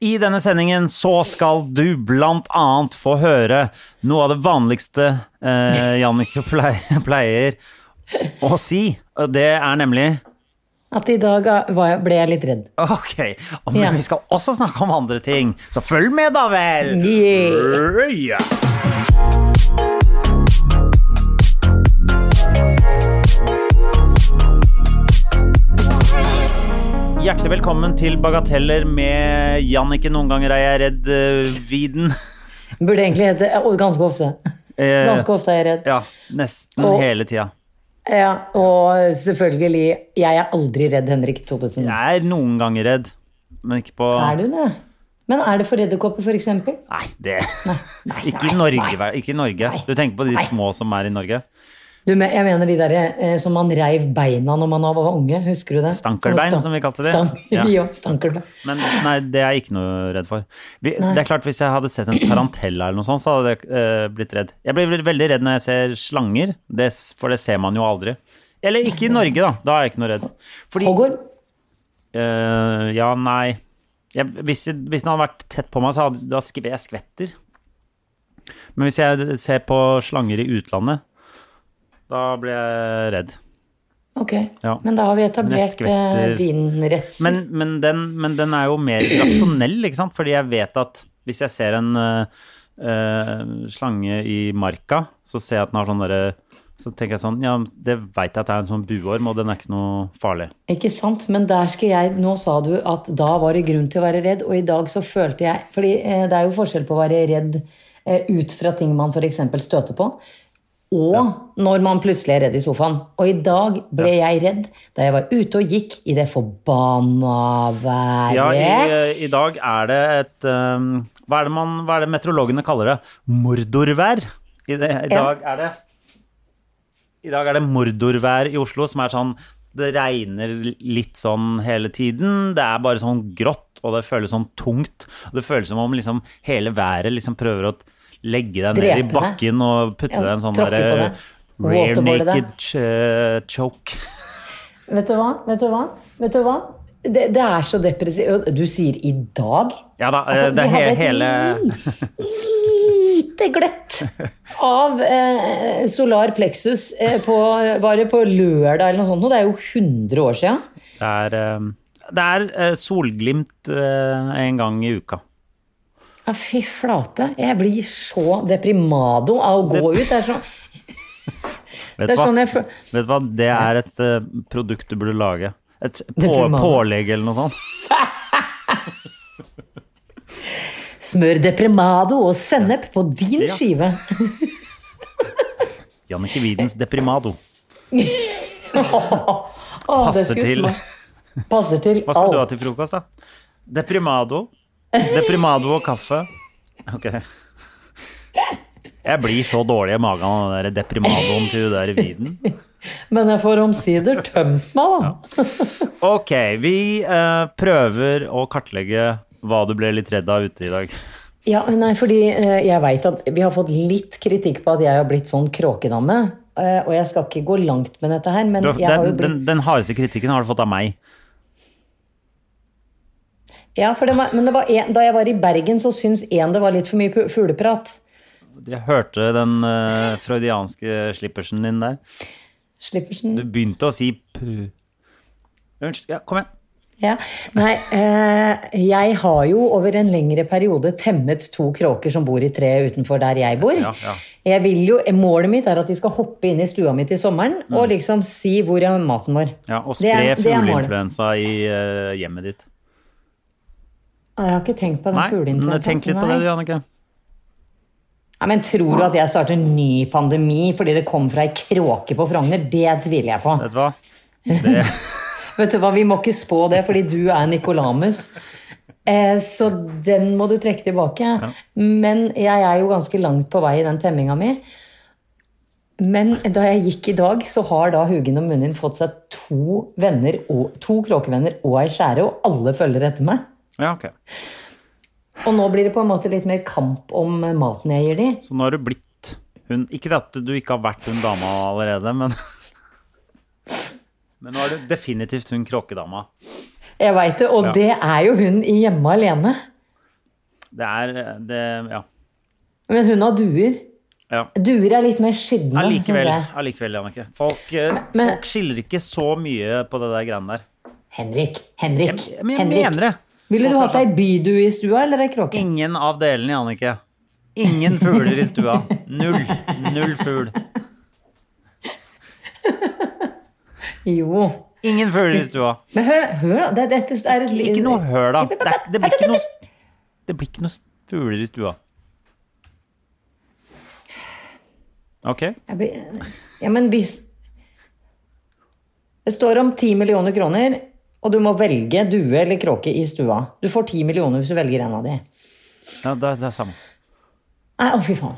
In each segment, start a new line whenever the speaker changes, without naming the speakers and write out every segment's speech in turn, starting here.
I denne sendingen så skal du blant annet få høre noe av det vanligste eh, Jannicke pleier, pleier å si. Og Det er nemlig
At i dag var jeg, ble jeg litt redd.
Ok, og men
Ja.
vi skal også snakke om andre ting, så følg med da vel!
Yeah.
Ja. Hjertelig velkommen til Bagateller med Jannicke Noen ganger er jeg redd eh, Viden.
Burde egentlig hete og Ganske ofte.
Eh,
Ganske ofte er jeg redd.
Ja, nesten
Og-
hele tida.
Ja, og selvfølgelig Jeg er aldri redd Henrik Thodesen.
Jeg er noen ganger redd, men ikke på
Er du det? Men er det for edderkopper, for eksempel?
Nei, det Ikke i Norge. vel? Ikke i Norge. Du tenker på de små som er i Norge?
Du, men jeg mener de der eh, som man reiv beina når man var unge, husker du det?
Stankelbein,
Sånne
som vi kalte de.
Stank,
Ja.
ja. stankelbein.
Men nei, det er jeg ikke noe redd for. Vi, det er klart, Hvis jeg hadde sett en tarantella, eller noe sånt, så hadde jeg eh, blitt redd. Jeg blir vel- veldig redd når jeg ser slanger, det, s- for det ser man jo aldri. Eller ikke i Norge, da. Da er jeg ikke noe redd. Fordi
Hoggorm?
eh, Ja, nei. Jeg, hvis, jeg- hvis den hadde vært tett på meg, så hadde da skv- jeg skvetter. Men hvis jeg ser på slanger i utlandet, da blir jeg redd.
Ok.
Ja.
Men da har vi
Men jeg
etablert
skvetter.
eh, din redsel.
Men, men, den, men den er jo mer rasjonell, ikke sant? Fordi jeg vet at hvis jeg ser en eh, eh, slange i marka, så ser jeg at den har sånn derre Så tenker jeg sånn Ja, det veit jeg at det er en sånn buorm, og den er ikke noe farlig.
Ikke sant, men der skal jeg, nå sa du at da var det grunn til å være redd, og i dag så følte jeg, fordi eh, det er jo forskjell på å være redd eh, ut fra ting man for eksempel støter på, og når man plutselig er redd i sofaen. Og i dag ble jeg redd da jeg var ute og gikk i det forbanna været.
Ja, i, eh, i dag er det et eh, hva, er det man, hva er det meteorologene kaller det? Mordorvær. I, det, i
Ja.
dag er det I dag er det mordorvær i Oslo, som er sånn Det regner litt sånn hele tiden. Det er bare sånn grått, og det føles sånn tungt. Og det føles som om liksom hele været liksom prøver å t- legge deg ned i
Drepe deg.
bakken og putte
Ja,
deg i en sånn
tråkke på
derre
deg.
rear
Waterboarde deg.
naked ch eh, choke.
Vet du hva, vet du hva, vet du hva? Det, det er så depressivt. Du sier i dag?
Ja da, eh,
Altså,
det
vi
er
hadde
he
et
hele
lite gløtt av eh, solar plexus eh, på, var det på lørdag eller noe sånt. nå? Det er jo 100 år siden.
Det er, eh, det er eh, solglimt eh, en gang i uka.
Ja, fy flate. Jeg blir så deprimado av å gå ut. Det er sånn,
Vet
det
du
er
hva?
sånn jeg føler
Vet du hva? Det er et eh, produkt du burde lage. Et på,
Deprimant.
pålegg eller noe sånt.
Smør deprimado og sennep på din
Ja.
skive.
Jannicke Widens Deprimado.
Å, det
Passer
skulle
til.
smak- Passer til
Hva skal du ha
alt.
til frokost, da? Deprimado. Deprimado og kaffe. Ok. Jeg blir så dårlig i magen av den der deprimadoen til hun der Widen.
Men jeg får omsider tømt meg, da.
Ok, vi eh, prøver å kartlegge hva du ble litt redd av ute i dag.
Ja, nei, fordi eh, jeg vet at vi har fått litt kritikk på at jeg har blitt sånn kråkedamme. eh, og jeg skal ikke gå langt med dette her, men
Du, har-
jeg har jo
den,
blitt
den, den hardeste kritikken har du fått av meg.
Ja, for det var, men det var en, da jeg var i Bergen, så syns én det var litt for mye pu- fugleprat.
Jeg hørte den eh, freudianske slippersen din der.
Slippersen.
Du begynte å si pu. Unnskyld. Ja, kom igjen.
Ja. Nei, eh, jeg har jo over en lengre periode temmet to kråker som bor i treet utenfor der jeg bor.
Ja, ja.
Jeg vil jo, Målet mitt er at de skal hoppe inn i stua mi til sommeren og
Mm.
liksom si hvor er maten vår.
Ja, og
Det
spre
er- det er målet.
fugleinfluensa i eh, hjemmet ditt.
Ah, Jeg har ikke tenkt på den
Nei,
fugleinfluensaen.
tenk litt på
nei.
det, du, Jannicke.
Ja, men tror du at jeg starter en ny pandemi fordi det kom fra ei kråke på Frogner? Det tviler jeg på.
Vet du hva?
Vet du hva, vi må ikke spå det, fordi du er Nikolamus. Eh, Så den må du trekke tilbake. Men jeg er jo ganske langt på vei i den temminga mi. Men da jeg gikk i dag, så har da Hugen og Munin fått seg to, venner og, to kråkevenner og ei skjære, og alle følger etter meg.
Ja, ok.
Og nå blir det på en måte litt mer kamp om maten jeg gir de.
Så nå har du blitt hun Ikke at du ikke har vært hun dama allerede, men Men nå er du definitivt hun kråkedama.
Jeg veit det, og
Ja.
det er jo hun i Hjemme alene.
Det er eh, det Ja.
Men hun har duer.
ja.
Duer er litt mer skitne.
Allikevel,
synes jeg.
allikevel, Jannicke. Folk, eh,
men-
folk skiller ikke så mye på det der greiene der.
Henrik, Henrik,
Men jeg
Henrik.
mener det.
Ville du
Folk
hatt
er
ei bydue i stua eller ei kråke?
Ingen av delene, Jannicke. Ingen fugler i stua. Null. Null fugl.
Jo.
Ingen fugler i stua.
Men hør, hør da. det- Dette er et
Ikke noe høl, da. Det, er- det blir ikke noe Det blir ikke noe fugler i stua. OK.
Jeg blir- Ja, men hvis Det står om 10 millioner kroner, og du må velge due eller kråke i stua. Du får 10 millioner hvis du velger en av de.
Ja, det, er- det er samme.
Nei, å fy faen.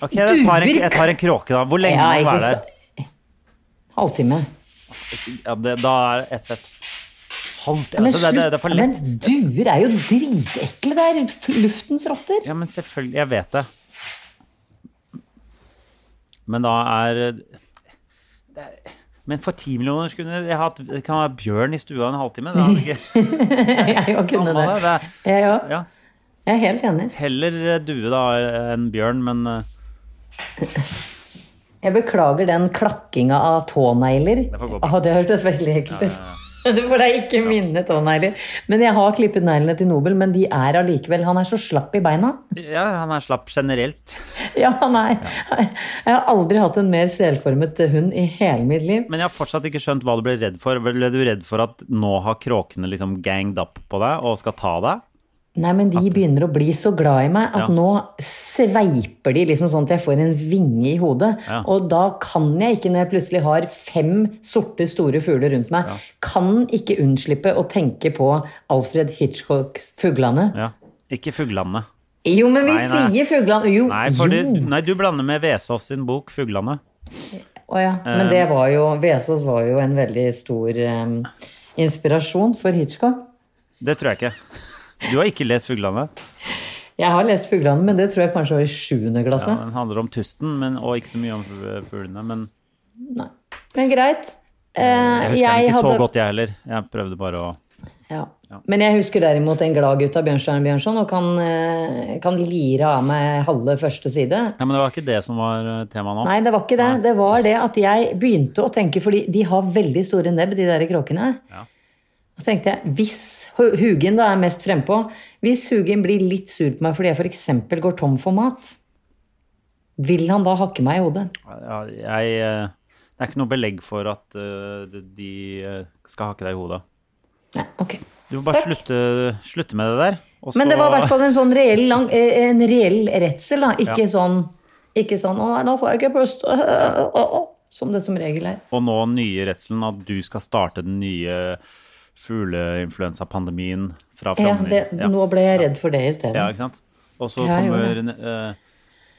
Ok, jeg tar, en, jeg tar en kråke, da. Hvor lenge må
Ja,
den
ikke
være der?
sant. Halvtime.
Ja, det, da er det ett fett. Halvt,
Men
altså, det, det, det er for
slutt!
lett.
Men duer er jo dritekle. Det er f- luftens rotter.
Ja, men selvfølgelig, jeg vet det. Men da er det er, Men for ti millioner skulle jeg hatt jeg kan ha bjørn i stua en halvtime. Det hadde ikke
Jeg jo kunne
samme det.
det.
det
Jeg, ja,
er- ja.
jeg er helt enig.
Heller eh, due da enn bjørn, men eh,
Jeg beklager den klakkinga av tånegler.
Det får gå bra.
Ah, det hørtes veldig ekkelt ut. Du får deg ikke minne tånegler. Men jeg har klippet neglene til Nobel, men de er allikevel Han er så slapp i beina.
ja, han er slapp generelt.
Ja, nei. Jeg har aldri hatt en mer selformet hund i hele mitt liv.
Men jeg har fortsatt ikke skjønt hva du ble redd for. Ble du redd for at nå har kråkene liksom ganged up på deg og skal ta deg?
Nei, men de begynner å bli så glad i meg at
Ja.
nå sveiper de liksom sånn at jeg får en vinge i hodet.
Ja.
Og da kan jeg ikke, når jeg plutselig har fem sorte, store fugler rundt meg, kan ikke unnslippe å tenke på Alfred Hitchcocks 'Fuglene'.
Ja. Ikke fuglene.
Jo, men vi
Nei, nei.
sier 'Fuglene'. Jo,
Nei, fordi,
jo.
nei, du blander med Vesaas sin bok 'Fuglene'.
Å ja. Men
Um,
det var jo Vesaas var jo en veldig stor em, inspirasjon for Hitchcock.
Det tror jeg ikke. Du har ikke lest 'Fuglene'.
Jeg har lest 'Fuglene', men det tror jeg kanskje var i sjuende
Ja,
klasse.
den handler om tusten, men, og ikke så mye om fu- fuglene. Men
Men greit. Eh,
jeg husker den ikke
hadde-
så godt, jeg heller. Jeg prøvde bare å
Ja. Men jeg husker derimot en glad gutt av Bjørnstjerne Bjørnson, og kan, eh, kan lire av meg halve første side.
Ja, Men det var ikke det som var eh, temaet nå.
Nei, det var ikke det. Det var det at jeg begynte å tenke, fordi de har veldig store nebb, de der kråkene.
Ja.
Så tenkte jeg, hvis Hu- Hugen da er mest frempå, hvis Hugen blir litt sur på meg fordi jeg f.eks. går tom for mat, vil han da hakke meg i hodet?
Ja, jeg, eh, det er ikke noe belegg for at eh, de de, eh, skal hakke deg i hodet.
Nei, ok.
Du må bare
Takk.
slutte, slutte med det der. og
Men det
så-
var i hvert fall en sånn reell, lang, eh, en reell redsel, da.
Ja.
Ikke sånn ikke sånn 'Å nei, nå får jeg ikke pust', øh, øh, øh, øh», som det som regel er.
Og nå nye redselen at du skal starte den nye fugleinfluensapandemien fra
Ja,
framtiden.
det,
Ja.
Nå ble jeg redd for det
Ja,
isteden.
ikke sant? Og så
Ja, jeg
kommer
gjorde
eh,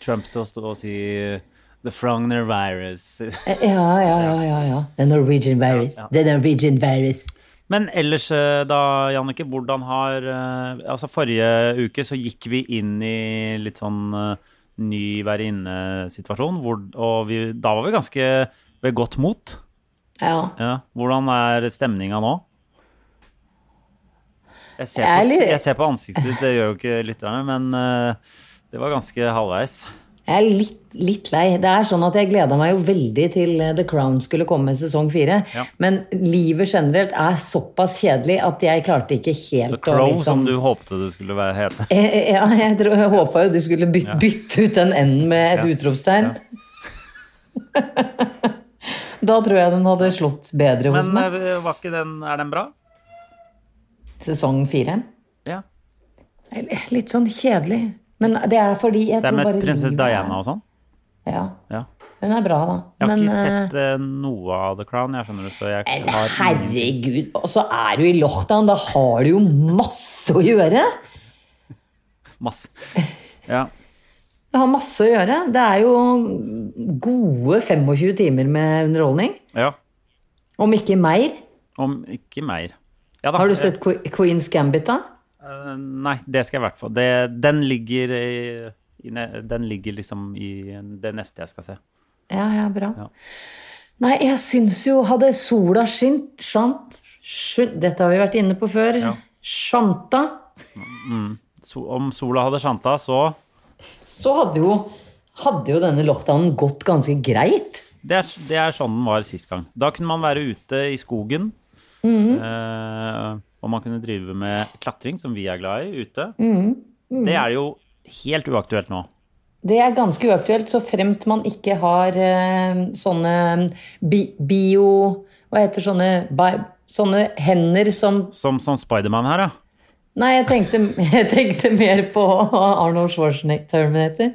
Trump til å stå og si The Frogner virus.
Ja, Eh, ja, ja. ja, ja. The Norwegian virus.
Ja, ja.
The Norwegian virus.
Men ellers eh, da, Jannicke, hvordan har eh, Altså, forrige uke så gikk vi inn i litt sånn eh, ny være inne-situasjon, hvor- og vi, da var vi ganske ved godt mot.
Ja.
Ja. Hvordan er stemninga nå? Jeg ser,
Jeg er
på,
litt-
jeg ser på ansiktet ditt, det gjør jo ikke lytterne, men eh, det var ganske halvveis.
Jeg er litt, litt lei. Det er sånn at Jeg gleda meg jo veldig til eh, The Crown skulle komme med sesong fire.
Ja.
Men livet generelt er såpass kjedelig at jeg klarte ikke helt
The Crow,
liksom-
som du håpte det skulle være hete.
Eh, eh, Ja, jeg, tror- jeg håpa jo du skulle bytte, bytte ut den enden med et
Ja.
utropstegn. da tror jeg den hadde slått bedre hos
Men
meg.
eh, var ikke den, er den bra?
Sesong fire.
Ja.
Eller, Litt sånn kjedelig. Men det er fordi jeg
Det er
tror
med
bare
prinsesse
livet er-
Diana og sånn?
Ja.
Ja.
Hun er bra, da.
Jeg har
Men,
ikke
eh,
sett eh, noe av The Crown, jeg skjønner det, så jeg
Men
har ingen-
herregud, og så er du i lockdown, da har du jo masse å gjøre!
masse. Ja.
Du har masse å gjøre. Det er jo gode 25 timer med underholdning.
ja.
Om ikke mer.
Om ikke mer. Ja da.
Har du sett Que- Queen's Gambit, da?
Eh, Nei, det skal jeg i hvert fall. Det, den, ligger i, i, ne- den ligger liksom i det neste jeg skal se.
Ja, ja, bra.
Ja.
Nei, jeg syns jo Hadde sola skint, skjant skjønt- Dette har vi vært inne på før.
Ja.
Skjanta.
So, om sola hadde skjanta, så
Så hadde jo, hadde jo denne lockdownen gått ganske greit.
det er, det er sånn den var sist gang. Da kunne man være ute i skogen.
Mhm.
eh, og man kunne drive med klatring, som vi er glad i, ute.
Mhm.
Det er jo helt uaktuelt nå.
Det er ganske uaktuelt, så fremt man ikke har eh, sånne bi bio Hva heter sånne bi Sånne hender som
Som, som Spiderman her, ja.
Nei, jeg tenkte, jeg tenkte mer på Arnold Schwarzenegger Terminator.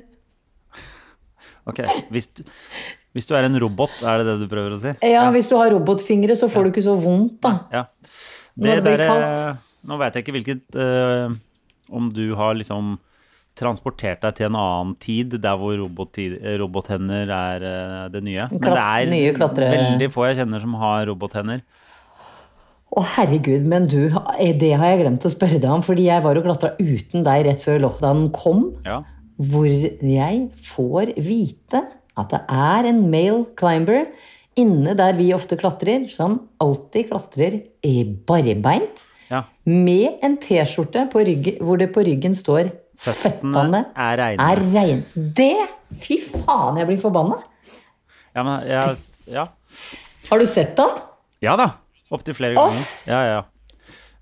Ok, hvis, du- hvis du er en robot, er det det du prøver å si?
Ja, hvis du har robotfingre, så får du ikke så vondt, da.
Ja.
Når
Det
det blir
der,
kaldt.
eh, Nå vet jeg ikke hvilket eh, Om du har liksom transportert deg til en annen tid, der hvor robottid- eh, robothender er eh, det nye. Men det
Klat-
er
nye klatre-
veldig få jeg kjenner som har robothender.
Å, herregud, men du, det har jeg glemt å spørre deg om, fordi jeg var og klatra uten deg rett før lockdownen kom,
Ja.
hvor jeg får vite at det er en male climber inne der vi ofte klatrer, som alltid klatrer i barbeint,
ja.
med en T-skjorte på ryggen- hvor det på ryggen står
Føttene
'Føttene
er reine.
er rein'. Det! Fy faen, jeg blir forbanna!
Ja, men, jeg- ja.
Har du sett den?
ja da! Opptil flere ganger. Ja, ja, ja.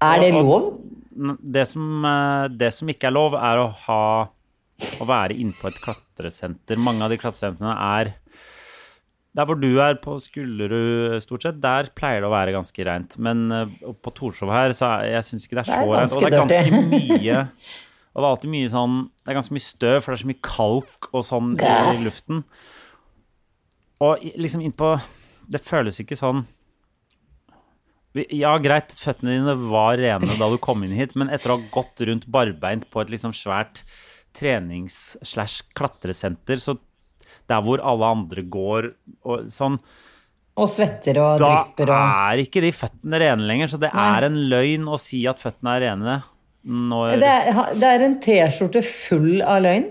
Er det
Ja, og-
lov?
N- det som, eh, det som ikke er lov, er å ha å være inne på et klatresenter. Mange av de klatresentrene er der hvor du er, på Skullerud stort sett, der pleier det å være ganske reint. Men eh, oppe på Torshov her, så er, jeg syns ikke det er
Det er
så reint. Og det er
ganske
ganske mye Og det er alltid mye sånn Det er ganske mye støv, for det er så mye kalk og sånn i,
Gass.
i luften. Og i- liksom innpå Det føles ikke sånn vi- Ja, greit, føttene dine var rene da du kom inn hit, men etter å ha gått rundt barbeint på et liksom svært trenings-slash-klatresenter, så der hvor alle andre går og sånn,
Og svetter og
da
drypper og
er ikke de føttene rene lenger, så det er en løgn å si at føttene er rene. Når,
Det er, ha- det er en T-skjorte full av løgn.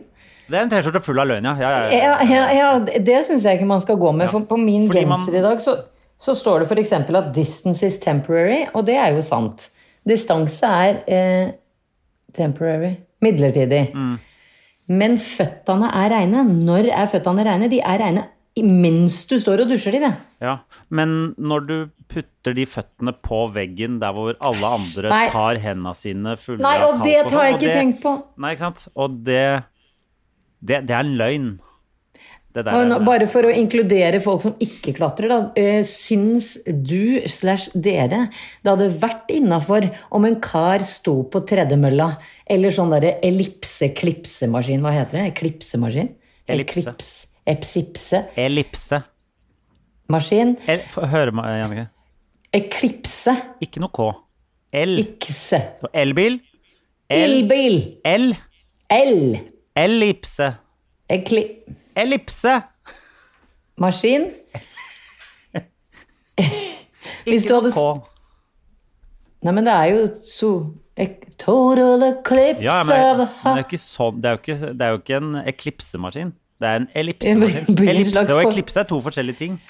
det er en T-skjorte full av løgn, ja. ja, ja, ja.
Ja, ja, ja det syns jeg ikke man skal gå med. For på min
Fordi man-
genser i dag så, så står det f.eks. at 'distance is temporary', og det er jo sant. Distanse er eh, temporary. Midlertidig.
Mm.
Men føttene er reine. Når er føttene reine? De er reine i- mens du står og dusjer i det.
ja. Men når du putter de føttene på veggen der hvor alle andre
Nei.
tar hendene sine fulle
Nei,
av
og
kalk
det
og
har
sånn,
jeg
og
ikke
det-
tenkt på.
Nei, ikke sant? Og det Det, det er en løgn. Det der
Og
er
nå, bare for å inkludere folk som ikke klatrer, da. eh, Syns du slash dere det hadde vært innafor om en kar sto på tredemølla, eller sånn derre ellipse-klipsemaskin, hva heter det? Klipsemaskin?
Ellipse.
Eklips, epsipse-maskin.
Ellipse. El, få høre meg, Jannicke.
Eklipse.
Ikke noe K. L.
Ikse.
Så elbil. El.
Elbil.
L.
L.
Ellipse.
Ekli-
Ellipse!
Maskin. Hvis
Ikke
du
noe
hadde
K.
Nei, men det er jo så ek- Total eclipse
Ja, men,
of the
men det, er jo ikke sånn, det, er jo ikke, det er jo ikke en eklipsemaskin. Det er en
Det
ellipsemaskin.
blir en slags
Ellipse og
form.
eklipse er to forskjellige ting.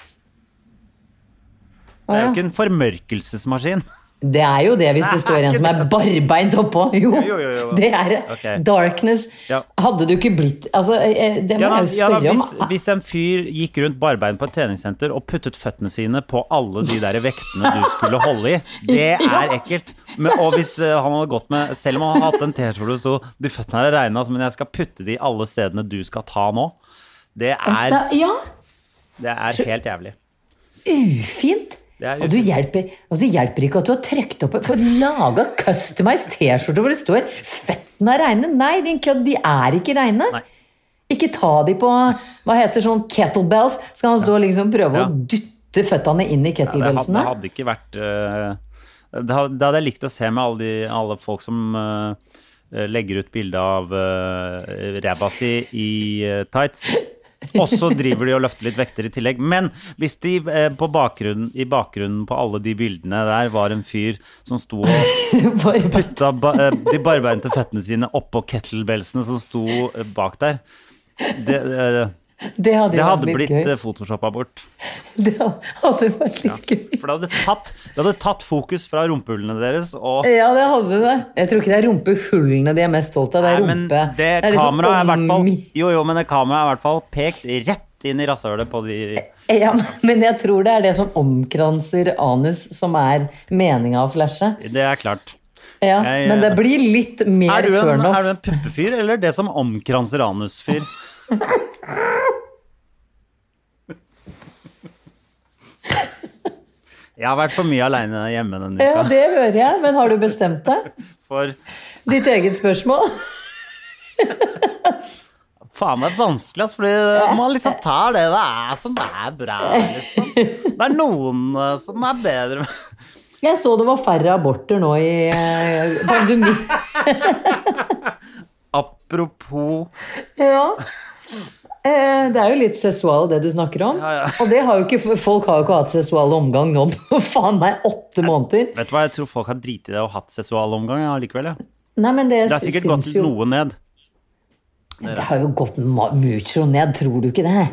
Å,
Det er
ja.
jo ikke en formørkelsesmaskin.
Det er jo det hvis
Nei,
det står en
ikke
som er barbeint oppå. Jo,
jo, jo, jo.
det er det.
Ok.
Darkness.
Ja.
Hadde du ikke blitt Altså, eh, det må
Ja da, ja
jeg jo
da,
spørre
hvis,
om. Ah,
hvis en fyr gikk rundt barbein på et treningssenter og puttet føttene sine på alle de der vektene du skulle holde i, det er ekkelt. Men, og hvis eh, han hadde gått med Selv om han hadde hatt en T-skjorte det sto 'De føttene her er regna, men jeg skal putte de alle stedene du skal ta nå', det er,
Da- Ja,
det er helt jævlig.
ufint.
Det er
Og du hjelper, og så hjelper det ikke at du har trøkt opp Få laga customized T-skjorte hvor det står 'Føttene er reine'. Nei, din kødd, de er ikke reine.
Nei.
Ikke ta de på hva heter sånn kettlebells. Så kan han stå og liksom prøve
Ja.
å dytte føttene inn
Det
i
hadde, det
kettlebellsene.
hadde ikke vært eh, det, hadde, det hadde jeg likt å se med alle, de, alle folk som eh, legger ut bilde av uh, ræva si i eh, tights. Og så driver de og løfter litt vekter i tillegg. Men hvis de eh, på bakgrunnen, i bakgrunnen på alle de bildene der var en fyr som sto og
Bare-
putta ba eh, de barbeinte føttene sine oppå kettlebellsene som sto eh, bak der Det, eh,
det hadde
det
jo
hadde
vært litt
blitt
gøy.
eh, photoshoppa bort.
Det hadde vært litt gøy.
For det hadde tatt, det hadde tatt fokus fra rumpehullene deres og
Ja, det hadde det. Jeg tror ikke det er rumpehullene de er mest stolt av. Det er
Nei, men
rumpe.
det
er liksom
kameraet er i hvert fall
omgi-
Jo, jo, men det kameraet er i hvert fall pekt rett inn i rasshølet på de
Ja, men jeg tror det er det som omkranser anus, som er meninga av flashet.
Det er klart.
Ja,
Jeg,
men det
eh,
blir litt mer
Er du en, er
turnoff.
du en puppefyr, eller det som omkranser anusfyr? Jeg har vært for mye aleine hjemme denne
Ja,
uka.
det hører jeg, men har du bestemt deg?
For
Ditt eget spørsmål?
faen meg vanskelig, ass. Fordi man liksom tar det det er som det er bra, liksom. Det er noen eh, som er bedre
Jeg så det var færre aborter nå i eh, pandemi.
Apropos
Ja. Eh, Det er jo litt sesual det du snakker om.
Ja, ja.
Og det har jo ikke, folk har jo ikke hatt sesual omgang nå på faen meg åtte måneder.
Vet du hva, jeg tror folk har driti i det og hatt seksual omgang ja, likevel, ja.
Nei, men det,
Det har sikkert gått
syns jo
noe ned,
Det har jo gått ma- mucho ned, tror du ikke det?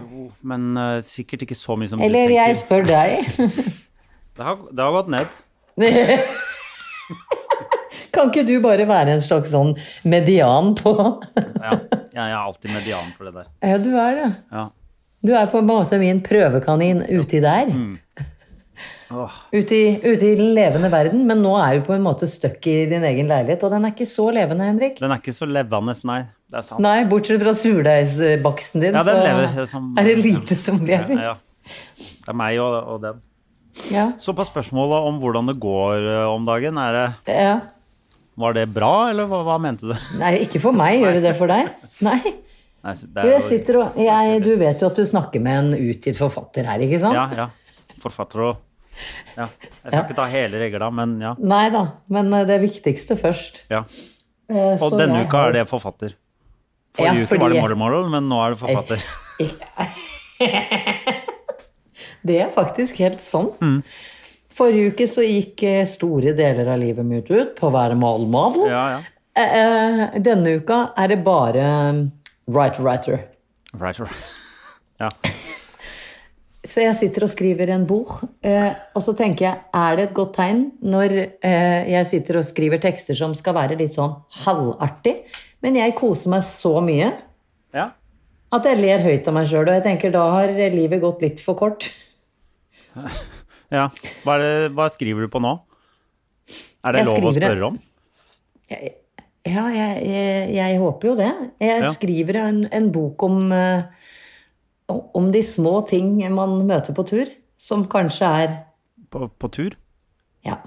men eh, sikkert ikke så mye som
Eller
du
jeg
tenker.
spør deg.
Det har, det har gått ned.
Kan ikke du bare være en slags sånn median på
Ja, jeg er alltid median for det der.
Ja, du er det.
Ja.
Du er på en måte min prøvekanin uti der.
Mm. Åh,
Ute i, ute i den levende verden, men nå er du på en måte stuck i din egen leilighet, og den er ikke så levende, Henrik.
den er ikke så levende, nei. Det er sant.
Nei, bortsett fra surdeigsbaksten din,
Ja, den
så
lever, det er som-
er det lite som lever.
Ja, ja. Det er meg og, og den.
Ja.
Så på spørsmålet om hvordan det går eh, om dagen, er det,
ja.
var det bra, eller hva, hva mente du?
Nei, ikke for meg. Gjør det det for deg? Nei.
Nei, det er
Du,
jo-
jeg sitter og, jeg, du vet jo at du snakker med en utgitt forfatter her, ikke sant?
Ja, ja. Forfatter og ja. Jeg skal
Ja.
ikke ta hele regla, men ja.
Nei da, men eh, det viktigste først.
ja.
Eh,
Og
så
denne
jeg
uka
har-
er det forfatter.
Ja,
Forrige uke var
fordi-
det morgenmorgen, men nå er det forfatter.
Det er faktisk helt sant.
Mm.
Forrige uke så gikk eh, store deler av livet mitt ut på å være malmal.
Ja, ja.
Eh, eh, Denne uka er det bare eh, right writer.
Right, right. Ja.
Så jeg sitter og skriver en bok, eh, og så tenker jeg, er det et godt tegn når eh, jeg sitter og skriver tekster som skal være litt sånn halvartig, men jeg koser meg så mye
ja.
at jeg ler høyt av meg sjøl, og jeg tenker da har livet gått litt for kort.
Ja. Hva, er det, hva skriver du på nå? Er det
Jeg
lov å
skriver det.
spørre om?
Jeg, ja, jeg, jeg, jeg håper jo det. Jeg
Ja.
skriver en, en bok om, eh, om de små ting man møter på tur, som kanskje er
På, på tur?
ja,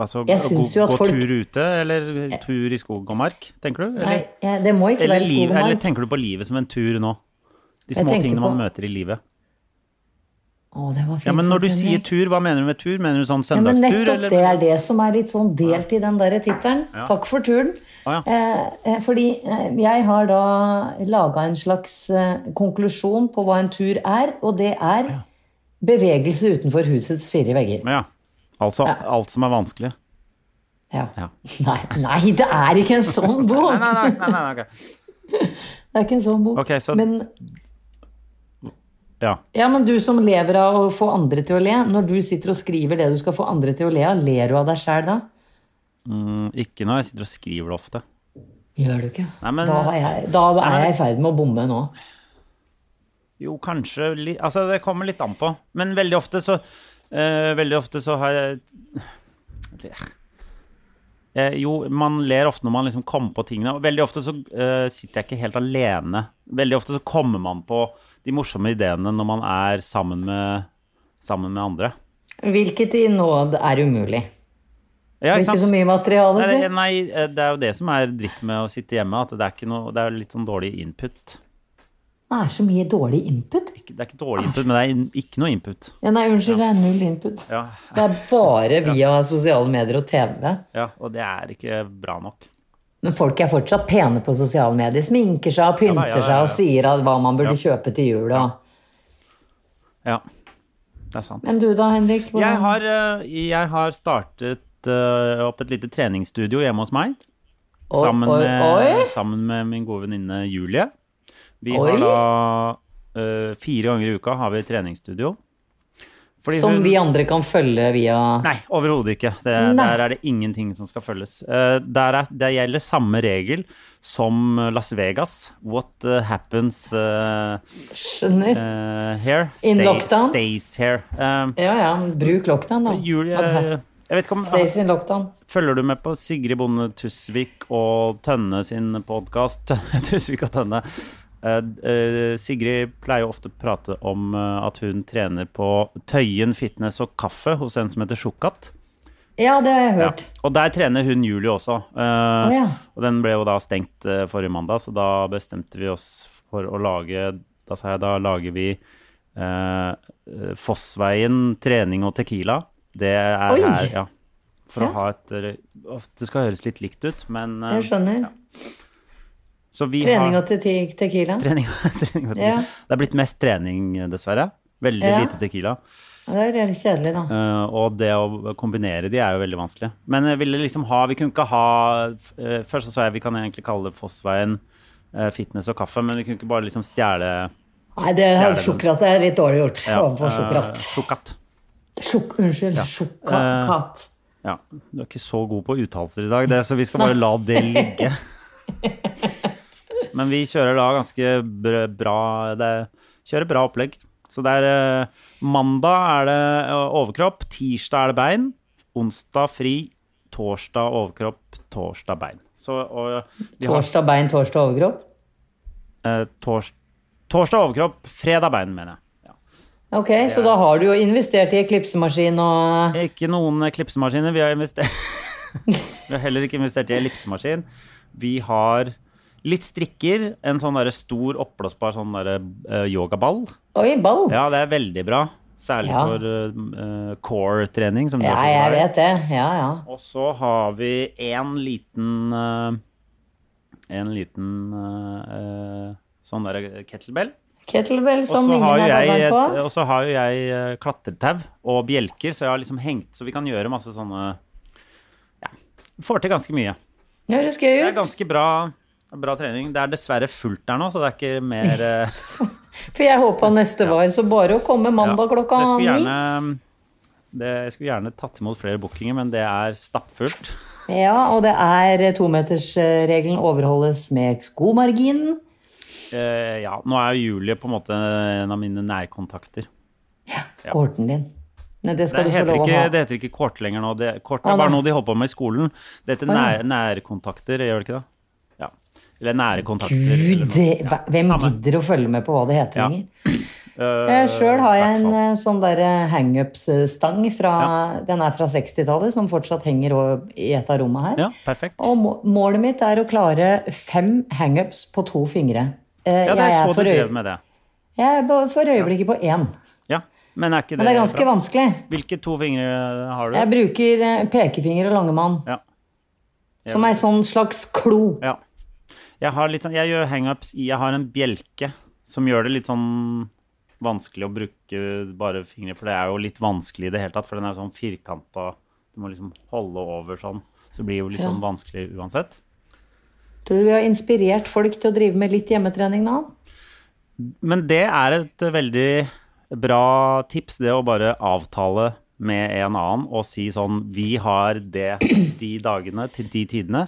Altså
Jeg
gå,
syns jo at
gå
folk-
tur ute, eller tur i skog og mark, tenker du?
nei,
Eller,
jeg, Det må ikke
eller,
være skog
liv,
og
eller
mark.
tenker du på livet som en tur nå? De
Jeg
små
tenker
tingene man
på-
møter i livet.
Å, det var fint.
Ja, men når du
sagt,
sier
Henrik.
tur, hva mener du med tur? Mener du sånn
Ja, men
søndagstur?
nettopp
eller?
det er det som er litt sånn delt i den der tittelen.
Ja.
Takk for turen.
Å, ja.
Eh, eh, fordi eh, jeg har da laga en slags eh, konklusjon på hva en tur er, og det er bevegelse utenfor husets fire vegger.
Men ja. Altså alt som er vanskelig.
Ja.
Ja.
Nei, nei, det er ikke en sånn bok!
Nei, nei, nei, nei, nei, ok.
Det er ikke en sånn bok.
Ok, så-
Men
Ja.
Ja, men du som lever av å få andre til å le, når du sitter og skriver det du skal få andre til å le av, ler du av deg sjæl da?
Mm, Ikke når jeg sitter og skriver det ofte.
Gjør du ikke?
Nei, men-
da, har jeg, da er jeg i ferd med å bomme nå.
Jo, kanskje li- Altså, det kommer litt an på. Men veldig ofte så eh, Veldig ofte så har jeg Eh, jo, man ler ofte når man liksom kommer på tingene. Og veldig ofte så eh, sitter jeg ikke helt alene. Veldig ofte så kommer man på de morsomme ideene når man er sammen med, sammen med andre.
Hvilket i nåd er umulig.
Ja,
Det
ikke
er ikke
sant?
så mye materiale,
Nei,
si.
nei, eh, det er jo det som er dritt med å sitte hjemme, at det er, ikke noe, det er litt sånn dårlig input.
Det er så mye dårlig input.
Ikke- Det er ikke dårlig input, men det er in- ikke noe input.
Ja, nei, unnskyld, det er null input.
Ja,
Det er bare via sosiale medier og TV.
ja, og det er ikke bra nok.
Men folk er fortsatt pene på sosiale medier. Sminker seg og pynter
Ja, ja, ja,
seg
ja.
og sier at hva man burde kjøpe til jul. Og.
Ja, det er sant.
Men du da, Henrik? hvordan-
Jeg har, eh, jeg har startet eh, opp et lite treningsstudio hjemme hos meg.
Oi,
sammen,
oi,
med,
oi.
sammen med min gode venninne Julie. Vi
Oi.
har da eh, Fire ganger i uka har vi treningsstudio. Fordi
Som
hun-
vi andre kan følge via
Nei, overhodet ikke. Det,
Nei.
Der er det ingenting som skal følges. Eh, der er, det gjelder samme regel som Las Vegas. What eh, happens eh,
Skjønner.
eh, here
In
stay-
lockdown?
stays here. Eh,
Ja ja, men bruk lockdown, da.
Julie
At-
Jeg vet ikke om
Stays in lockdown.
Følger du med på Sigrid Bonde Tusvik og Tønne sin podkast? Tusvik og Tønne. Eh, eh, Sigrid pleier jo ofte å prate om eh, at hun trener på Tøyen fitness og kaffe hos en som heter Sjokat.
Ja, det har jeg
Ja.
hørt.
Og der trener hun Julie også. Eh,
ja.
Og den ble jo da stengt eh, forrige mandag, så da bestemte vi oss for å lage Da sa jeg da lager vi eh, eh, Fossveien trening og tequila. Det er
Oi!
her, ja. For
Ja.
å ha et eh, of- Det skal høres litt likt ut, men eh,
Jeg skjønner.
Så vi
Trening
har
og te te- tequila.
trening, trening og tequila.
Ja.
Det er blitt mest trening, eh, dessverre. Veldig
Ja.
lite tequila.
Ja, Det er litt kjedelig, da.
Eh, og det å kombinere de er jo veldig vanskelig. Men jeg ville liksom ha Vi kunne ikke ha eh, Først så sa jeg vi kan egentlig kalle det Fossveien eh, fitness og kaffe, men vi kunne ikke bare liksom stjele
Nei, det er
Stjerne.
sjokrat. Det er litt dårlig gjort
ja,
overfor
eh,
sjokrat.
sjokkat.
Sjok, unnskyld.
Eh,
Sjokkat.
Ja. Du er ikke så god på uttalelser i dag, det, så vi skal bare la det ligge. Men vi kjører da ganske br- bra det, Kjører bra opplegg. Så det er eh, Mandag er det eh, overkropp, tirsdag er det bein, onsdag fri, torsdag overkropp, torsdag bein. Så og, vi har
Torsdag bein, torsdag overkropp.
eh, tors, torsdag overkropp, fredag bein, mener jeg. Ja.
Ok, så da har du jo investert i eklipsemaskin og
Ikke noen klipsemaskiner. Vi har investert Vi har heller ikke investert i ellipsemaskin. Vi har litt strikker, en sånn derre stor oppblåsbar sånn derre eh, yogaball.
Oi, ball!
Ja, det er veldig bra. Særlig
Ja.
for eh, eh, core-trening, som du
Ja,
er så
jeg
glad i.
vet det. Ja, ja.
Og så har vi en liten eh, En liten eh, eh, sånn derre kettlebell.
Kettlebell
Og
som
så
ingen
har
har
jo jeg,
adgang
et-
på.
og så har jo jeg eh, klatretau og bjelker, så jeg har liksom hengt Så vi kan gjøre masse sånne Ja. Får til ganske mye.
Det høres gøy
Det er
ut.
ganske bra, bra trening. Det er dessverre fullt der nå, så det er ikke mer eh,
For jeg håpa neste var, så bare å komme mandag klokka
Så jeg
ni.
skulle gjerne det, Jeg skulle gjerne tatt imot flere bookinger, men det er stappfullt.
Ja, og det er tometersregelen overholdes med skomarginen.
Eh, ja, nå er jo Julie på en måte en av mine nærkontakter. Ja.
Korten din. Nei, det
Det
skal du få
heter,
lov å
ikke,
ha.
det heter ikke kort lenger nå. Det, kort
Å,
er bare
nei.
noe de holder på med i skolen. Det heter nær, nærkontakter, gjør det ikke det? Ja. Eller nære kontakter.
Gud,
eller noe.
det-
Ja,
hva- hvem
samme.
gidder å følge med på hva det heter
Ja.
lenger?
Eh,
Eh, Sjøl har jeg en
hvertfall.
eh, sånn der eh, hangups-stang. fra- Den er fra 60-tallet, som fortsatt henger over i et av rommene her.
Ja, perfekt.
Og må- målet mitt er å klare fem hangups på to fingre. Eh,
Ja, det
jeg,
er
er
så
for
du
øy-
drev med det.
jeg er ba- for øyeblikket på én.
Ja, men er ikke det,
Men det er ganske
bra?
vanskelig.
Hvilke to fingre har du?
Jeg bruker eh, pekefinger og langemann
Ja. Jeg-
som ei sånn slags klo.
Ja. Jeg har litt sånn Jeg gjør hangups i Jeg har en bjelke som gjør det litt sånn vanskelig å bruke bare fingre, for det er jo litt vanskelig i det hele tatt, for den er sånn firkanta. Du må liksom holde over sånn. Så det blir jo litt
Ja.
sånn vanskelig uansett.
Tror du vi har inspirert folk til å drive med litt hjemmetrening nå?
Men det er et veldig bra tips, det å bare avtale med en annen og si sånn Vi har det de dagene til de tidene.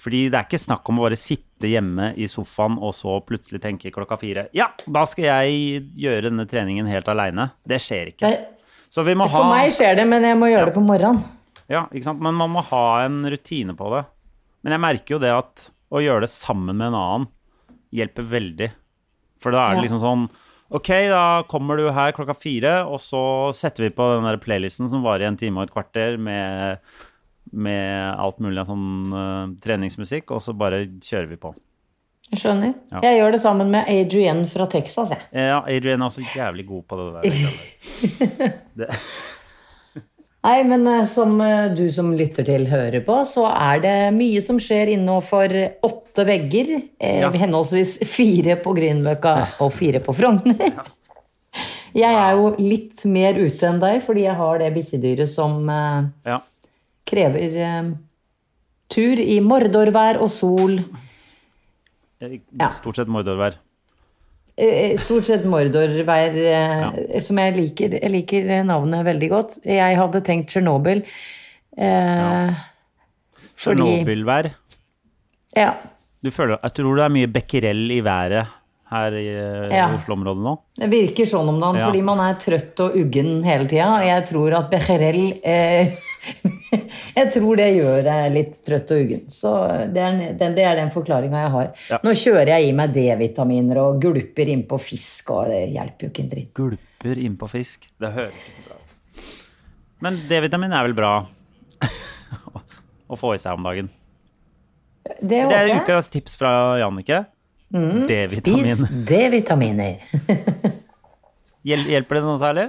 Fordi det er ikke snakk om å bare sitte hjemme i sofaen og så plutselig tenke klokka fire Ja, da skal jeg gjøre denne treningen helt aleine. Det skjer ikke.
Det,
Så vi må ha
for meg skjer det, men jeg må gjøre det på morgenen.
Ja, ikke sant? Men man må ha en rutine på det. Men jeg merker jo det at å gjøre det sammen med en annen hjelper veldig. For da er det
Ja.
liksom sånn Ok, da kommer du her klokka fire, og så setter vi på den der playlisten som varer i en time og et kvarter med, med alt mulig av sånn eh, treningsmusikk, og så bare kjører vi på.
Jeg skjønner.
Ja.
Jeg gjør det sammen med Adrienne fra Texas, jeg.
Eh, Ja, Adrian er også jævlig god på det der.
Nei, men eh, som eh, du som lytter til hører på, så er det mye som skjer innenfor åtte vegger. eh,
Ja.
Henholdsvis fire på Grünerløkka og fire på Frogner. Jeg er jo litt mer ute enn deg, fordi jeg har det bikkjedyret som eh,
Ja.
krever eh, tur i mordorvær og sol. Ja.
eh, Stort sett mordorvær.
Eh, Stort sett mordorvær, eh, som jeg liker. Jeg liker eh, navnet veldig godt. Jeg hadde tenkt Tsjernobyl. Eh, Fordi
Tsjernobylvær.
Ja.
Du føler, jeg tror det er mye becquerel i været her i eh,
Ja.
Oslo-området nå.
Det virker sånn om dagen,
Ja.
fordi man er trøtt og uggen hele tida. Og jeg tror at Becquerel eh, Jeg tror det gjør deg litt trøtt og uggen. Så eh, det er den, det er den forklaringa jeg har.
Ja.
Nå kjører jeg i meg D-vitaminer og gulper innpå fisk, og det hjelper jo ikke en dritt.
Gulper innpå fisk. Det høres ikke bra ut. Men D-vitamin er vel bra å få i seg om dagen.
Det
Det er
håper jeg.
ukas tips fra Jannicke. D-vitamin.
Mm. Spis D-vitaminer.
Hjel hjelper det noe særlig?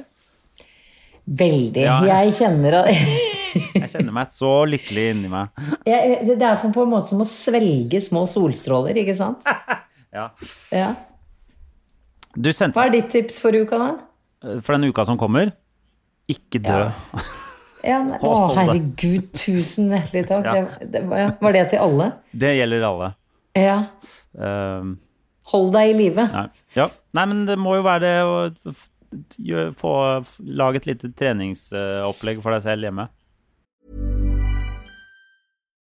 Veldig.
Ja.
Jeg kjenner at
Jeg kjenner meg så lykkelig inni meg.
jeg, Det det er for på en måte som å svelge små solstråler, ikke sant?
Ja.
Ja.
Du sendte
Hva er ditt tips for uka, da?
for den uka som kommer. Ikke dø.
Ja, men, å,
Hold det.
herregud, tusen hjertelig takk.
Ja.
Det, det, var- ja, var det til alle?
Det gjelder alle.
Ja.
Ehm,
Hold deg i live.
nei. Ja. nei, men det må jo være det å f- gjø- få lage et lite treningsopplegg for deg selv hjemme.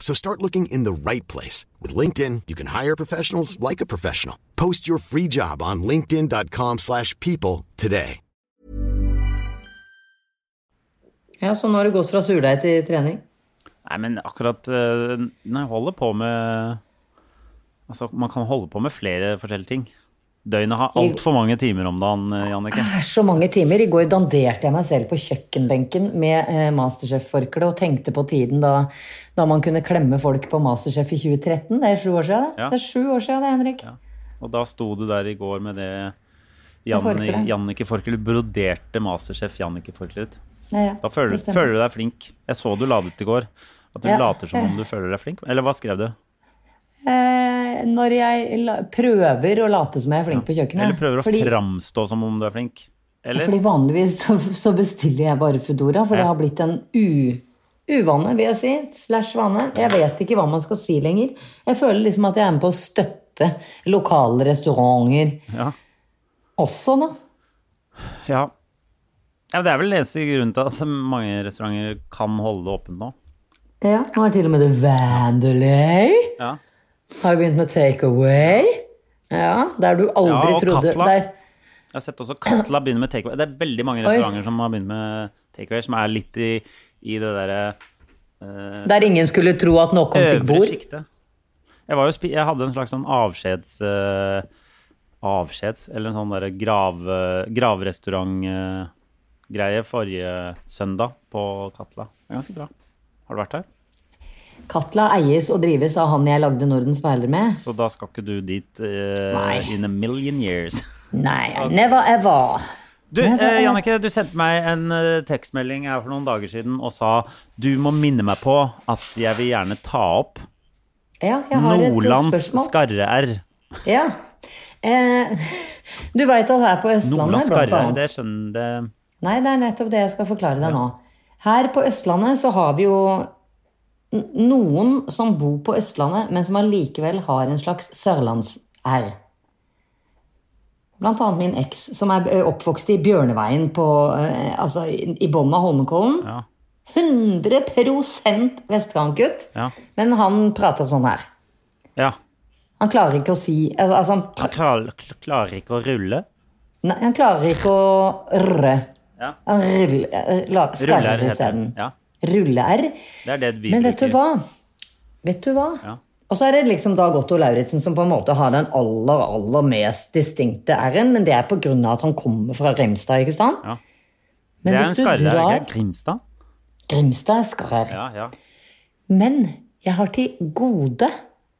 So start looking in the right place. With LinkedIn, you can hire professionals like a professional. Post your free job on linkedin.com/people slash people today.
Ja, Så nå har du gått fra surdeig til trening?
Nei, men akkurat eh, Nei, holder på med Altså, man kan holde på med flere forskjellige ting. Døgnet har altfor mange timer om dagen, eh, Jannicke.
Det er så mange timer. I går danderte jeg meg selv på kjøkkenbenken med eh, Masterchef-forkle og tenkte på tiden da, da man kunne klemme folk på Masterchef i 2013. Det er sju år siden, det.
Ja.
Det er sju år siden, det, Henrik.
Og da sto du der i går med det
forkleet.
Janni- Jannicke Forkle broderte masterchef Jannicke Forkle ditt.
Ja, ja.
Da føler,
Det stemmer.
føler du deg flink. Jeg så du la det ut i går. At du
Ja.
later som om du føler deg flink. Eller hva skrev du?
Eh, når jeg la prøver å late som jeg er flink på kjøkkenet.
Eller prøver å
Fordi-
framstå som om du er flink? Eller?
Fordi vanligvis så, så bestiller jeg bare Foodora, for det
Ja.
har blitt en u, uvane, vil jeg si. Slash vane. Jeg vet ikke hva man skal si lenger. Jeg føler liksom at jeg er med på å støtte lokale restauranter
Ja.
også, da.
ja. ja det er vel eneste grunnen til at mange restauranter kan holde det åpent nå.
Ja, nå er til og med det Vandelay.
Ja.
Har jo begynt med takeaway. Ja, der du aldri
Ja, og
trodde
Katla.
der-
Jeg har sett også Katla begynne med takeaway. Det er veldig mange restauranter som har begynt med takeaway, som er litt i, i det derre
Der ingen skulle tro at noen fikk
øvre
bord.
sjiktet. Jeg, var jo spi jeg hadde en slags sånn avskjeds... eh, avskjeds, eller en sånn derre grav, eh, gravrestaurant-greie forrige søndag på Katla. Det er ganske bra. Har du vært her?
Katla eies og drives av han jeg lagde Nordens perler med.
Så da skal ikke du dit eh,
Nei.
in a million years.
Nei, never ever.
Du,
Nei, det
eh,
er-
Jannicke, du sendte meg en eh, tekstmelding her for noen dager siden og sa du må minne meg på at jeg vil gjerne ta opp
Ja, jeg har et
Nordlands
spørsmål.
skarre-r.
Ja. Eh, du veit at her på Østlandet
Nordlands
blant
skarre,
annet-
det skjønner det
Nei, det er nettopp det jeg skal forklare deg nå. Her på Østlandet så har vi jo n- noen som bor på Østlandet, men som allikevel har en slags sørlands-r. Blant annet min eks, som er eh, oppvokst i Bjørneveien på, eh, altså i i bunnen av Holmenkollen.
Ja.
100 vestkantgutt,
Ja.
men han prater sånn her.
ja.
Han klarer ikke å si altså, altså, han, pra-
Han klar, kl- klarer ikke å rulle.
nei, han klarer ikke å rre.
Ja.
Han ruller, eh, la-
Ruller
skarrer
heter
isteden.
det. Ja.
Rulle-r.
Det er det vi
Men vet du hva? Vet du hva?
Ja.
Og så er det liksom Dag Otto Lauritzen som på en måte har den aller aller mest distinkte r-en, men det er pga. at han kommer fra Grimstad, ikke sant?
Ja.
Men
det er en
hvis du
skarre, er det
drar
ikke? Grimstad?
Grimstad er skarrer.
Ja, ja.
Men jeg har til gode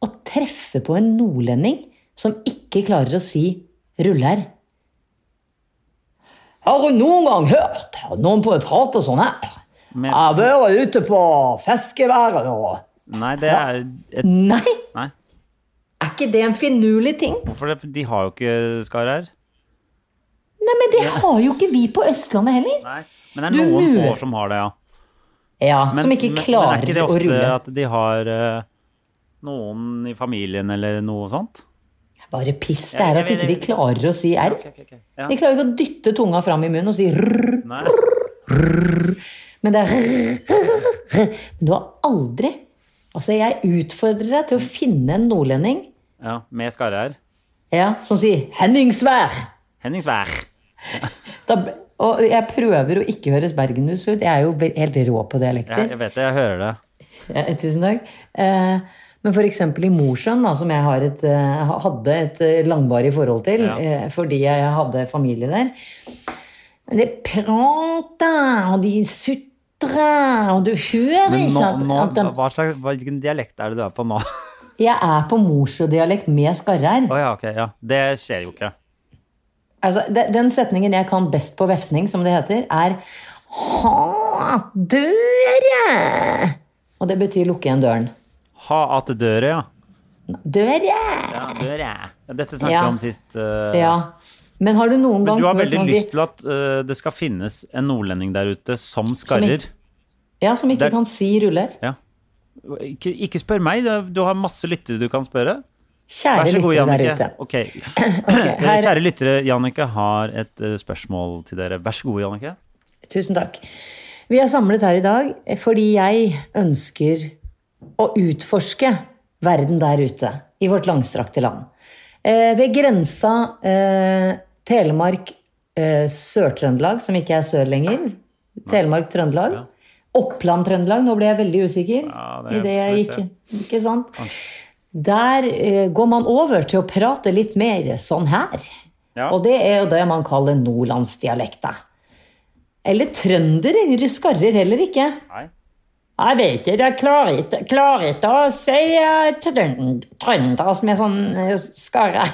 å treffe på en nordlending som ikke klarer å si 'ruller'. Har du noen gang hørt noen på prate sånn her?
Mest-
Jeg har vært ute på fiskeværet og
Nei, det er et,
Nei!
Nei.
Er ikke det en finurlig ting?
Hvorfor det? De har jo ikke skar her.
Nei, men det har jo ikke vi på Østlandet heller.
Nei. Men det
Du
er noen
lurer.
få som har det, ja.
Ja,
Men,
Som ikke
men-
klarer
men er ikke det
å
ofte
rulle.
at de har eh, noen i familien eller noe sånt?
Bare piss. Det er
Ja,
at
jeg
ikke
vet-
de klarer å si r.
Ja.
De klarer ikke å dytte tunga fram i munnen og si rrr.
Nei.
Men det er Men du har aldri Altså, jeg utfordrer deg til å finne en nordlending
Ja, med skarre her.
ja, som sier 'Henningsvær'.
Henning Svær.
Da, og jeg prøver å ikke høres bergensk ut. Jeg er jo ve- helt rå på
Jeg,
dialekter.
jeg vet det, jeg hører det.
Ja, tusen takk. Eh, men f.eks. i Mosjøen, da, som jeg har et, eh, hadde et eh, langvarig forhold til
Ja.
eh, fordi jeg hadde familie der Men det prater, og de sutrer, og du hører
Men nå,
ikke at,
nå
at de
hva slags, hvilken dialekt er det du er på nå? Å
Jeg er på morsjødialekt med skarrer.
ja, ok, ja. Det skjer jo ikke.
Altså, de- den setningen jeg kan best på vefsning, som det heter, er Ha døre! Og det betyr lukke igjen døren.
Ha at døre, ja.
Døre!
Ja, døre. Dette snakket vi
Ja.
om sist. eh,
Ja. Men har du noen gang
Men du har
hørt
veldig
noen si-
lyst til at eh, det skal finnes en nordlending der ute som skarrer.
ikke- Ja, som ikke
Det er-
kan si ruller.
Ja. Ikke, ikke spør meg, det- du har masse lyttere du kan spørre. Vær
Kjære
så god,
lyttere der
Jannicke.
ute.
Ok.
Ok,
Dere
her,
Kjære lyttere, Jannicke har et eh, spørsmål til dere. Vær så god, Jannicke.
tusen takk. Vi er samlet her i dag eh, fordi jeg ønsker å utforske verden der ute, i vårt langstrakte land. Eh, ved grensa eh, Telemark, eh, Sør-Trøndelag, som ikke er sør lenger, Telemark, Trøndelag, Oppland, Trøndelag, nå ble jeg veldig usikker
Ja, det
i det jeg
får
gikk, ikke sant? Der eh, går man over til å prate litt mer sånn her.
Ja.
Og det er jo det man kaller nordlandsdialekta. Eller trøndere, de skarrer heller ikke.
Nei.
Jeg vet ikke, jeg klarer ikke, klarer ikke å si eh, trønd- trønder som er sånn eh, skarre.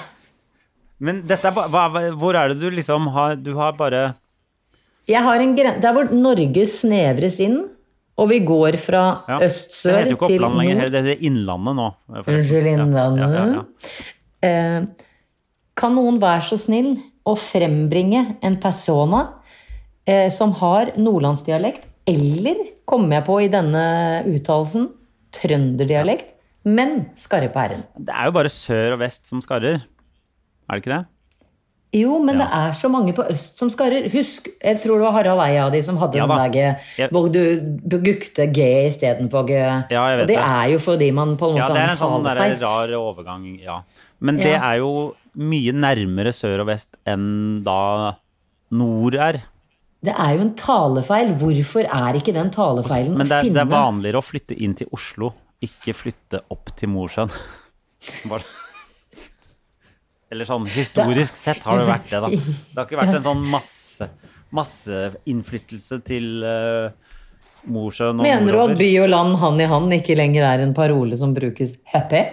Men dette er ba, hva, hva- hvor er det du liksom har Du har bare
Jeg har en gren... Der hvor Norge snevres inn, og vi går fra
ja. Det
øst-sør
heter jo ikke
til
Oppland lenger,
nord
det heter Innlandet nå. forresten.
Unnskyld, Innlandet.
Ja, ja, ja, ja.
Eh, Kan noen være så snill å frembringe en persona eh, som har nordlandsdialekt, eller kommer jeg på i denne uttalelsen trønderdialekt, men skarre på r-en?
Det er jo bare sør og vest som skarrer. Er det ikke det?
Jo, men
Ja.
det er så mange på øst som skarrer. Husk, jeg tror det var Harald Eia av de som hadde
Ja da.
den der eh,
Jeg-
hvor du brukte G istedenfor G.
Ja, jeg vet
og det
det.
er jo fordi man på en
Ja,
måte
det er
har
en sånn der
talefeil.
rar overgang, ja. Men det
Ja.
er jo mye nærmere sør og vest enn da nord er.
Det er jo en talefeil. Hvorfor er ikke den talefeilen
Men det er,
å
det er
finne?
vanligere å flytte inn til Oslo, ikke flytte opp til Mosjøen. Var det- Eller sånn historisk sett har det vært det, da. Det har ikke vært en sånn masse masseinnflyttelse til eh, Mosjøen og
Mener du at by
nordover.
og land hand i hand ikke lenger er en parole som brukes happy?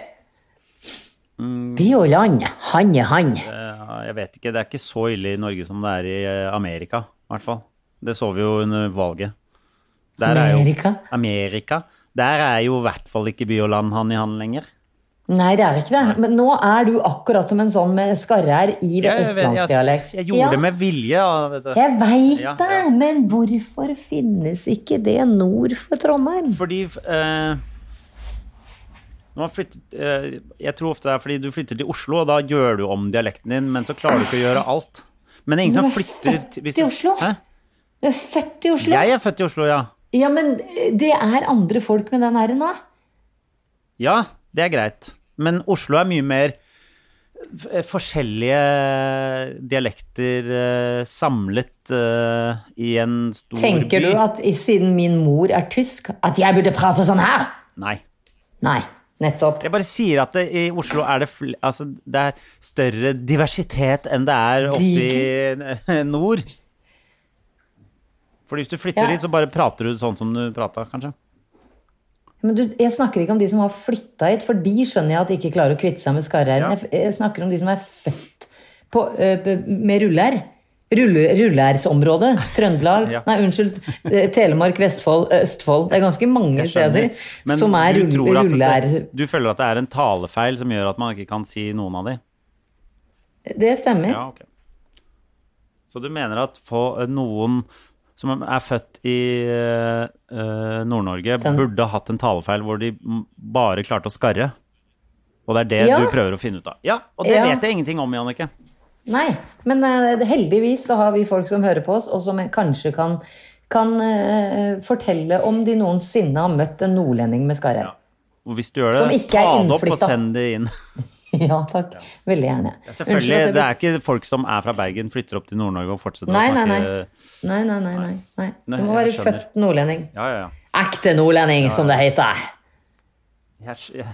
Mm.
By og land, hand i hand.
Eh, Jeg vet ikke. Det er ikke så ille i Norge som det er i eh, Amerika, i hvert fall. Det så vi jo under valget. Der er jo
Amerika?
Amerika. Der er jo i hvert fall ikke by og land hand i hand lenger.
Nei, det er ikke det. Men nå er du akkurat som en sånn med skarrer i
Jeg- jeg
det
vet-
østlandsdialekt.
Jeg, jeg gjorde
Ja,
det med vilje. da, Vet du.
Jeg veit
Ja,
det,
ja.
men hvorfor finnes ikke det nord for Trondheim?
Fordi eh, når man flytter, eh, Jeg tror ofte det er fordi du flytter til Oslo, og da gjør du om dialekten din, men så klarer du ikke å gjøre alt. Men det er ingen som
Men du er
flytter
født
til- hvis
i
du-
Oslo.
Hæ?
Du er født i Oslo.
Jeg er født i Oslo, ja.
Ja, men det er andre folk med den r-en da.
Ja, det er greit. Men Oslo er mye mer f- eh, forskjellige dialekter eh, samlet eh, i en stor
Tenker
by.
du at i- siden min mor er tysk, at jeg burde prate sånn her?
Nei.
Nei, nettopp.
Jeg bare sier at det, i Oslo er det, fl altså, det er større diversitet enn det er oppe i nord. For hvis du flytter
Ja.
dit, så bare prater du sånn som du prata, kanskje.
Men du, jeg snakker ikke om de som har flytta hit, for de skjønner jeg at de ikke klarer å kvitte seg med skarre-r-en.
Ja.
Jeg, f- jeg snakker om de som er født på, ø, b- med ruller. Rullersområdet. Trøndelag.
Ja.
Nei, unnskyld. eh, Telemark, Vestfold, Østfold. Det er ganske mange steder
Men
som er
du, tror at
ruller...
det, du føler at det er en talefeil som gjør at man ikke kan si noen av de?
Det stemmer.
Ja, ok. Så du mener at få- eh, noen som er født i eh, eh, Nord-Norge,
Den-
burde hatt en talefeil hvor de m- bare klarte å skarre? Og det er det
Ja.
du prøver å finne ut av? Ja, og det
Ja.
vet jeg ingenting om, Jannicke.
Nei, men eh, heldigvis så har vi folk som hører på oss, og som kanskje kan, kan eh, fortelle om de noensinne har møtt en nordlending med skarre. Ja.
Og Hvis du gjør
Som
det,
ikke
ta
er
det opp og
innflytta.
send det inn.
takk. Veldig gjerne.
Selvfølgelig,
Unnskyld at jeg
Det er ikke folk som er fra Bergen, flytter opp til Nord-Norge og fortsetter
Nei,
å
nei,
snakke
nei. Nei, nei, nei. nei, nei.
Nei,
Du må
jeg
være
skjønner.
født nordlending.
Ja, ja, ja.
Ekte nordlending, som det heter.
Jeg sk- ja.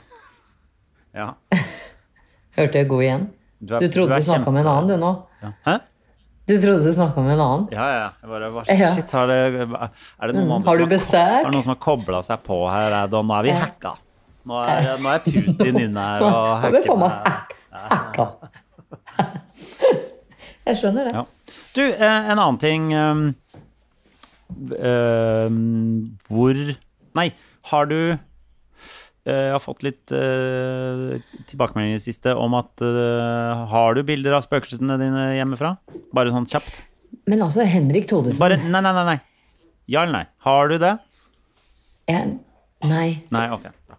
ja.
Hørte jeg god igjen?
er-
Du trodde
er
du, snakka med en annen, du nå.
kjempe- Hæ?
Du trodde du snakka med en annen.
Ja, ja. Jeg bare, hva,
Ja. Mm.
shit, har det, er det noen andre
har du
som ko-
besøk?
Er det noen som har kobla seg på her? Er det, nå er vi hacka. Nå er, nå er Putin inne her og
Nå ble
hacker
faen meg
meg.
hack- hacka. Jeg skjønner det.
Ja. Du, eh, en annen ting um, um, Hvor Nei, har du eh, Jeg har fått litt eh, tilbakemeldinger i det siste om at eh, Har du bilder av spøkelsene dine hjemmefra? Bare sånn kjapt.
Men altså, Henrik Thodesen
Bare, nei, nei, nei. nei. Ja eller nei? Har du det?
jeg, Nei.
Nei, ok. Bra.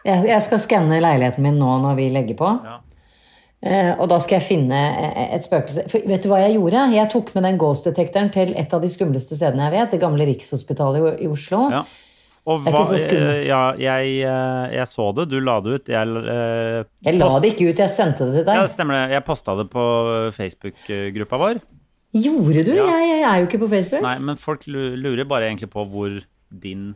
Jeg, jeg skal skanne leiligheten min nå når vi legger på.
Ja.
Eh, og da skal jeg finne eh, et spøkelse. For, vet du hva jeg gjorde? Jeg tok med den ghost detektoren til et av de skumleste stedene jeg vet. Det gamle Rikshospitalet i, i Oslo.
Ja. Og
Det er
hva,
ikke så skummelt.
eh, ja, jeg, eh, jeg så det, du la det ut. Jeg, eh,
Jeg la
post-
det ikke ut, jeg sendte det til
Ja,
deg.
det stemmer det. Jeg posta det på eh, Facebook-gruppa vår.
Gjorde du?
Ja.
Jeg, jeg er jo ikke på Facebook.
Nei, men folk lu- lurer bare egentlig på hvor din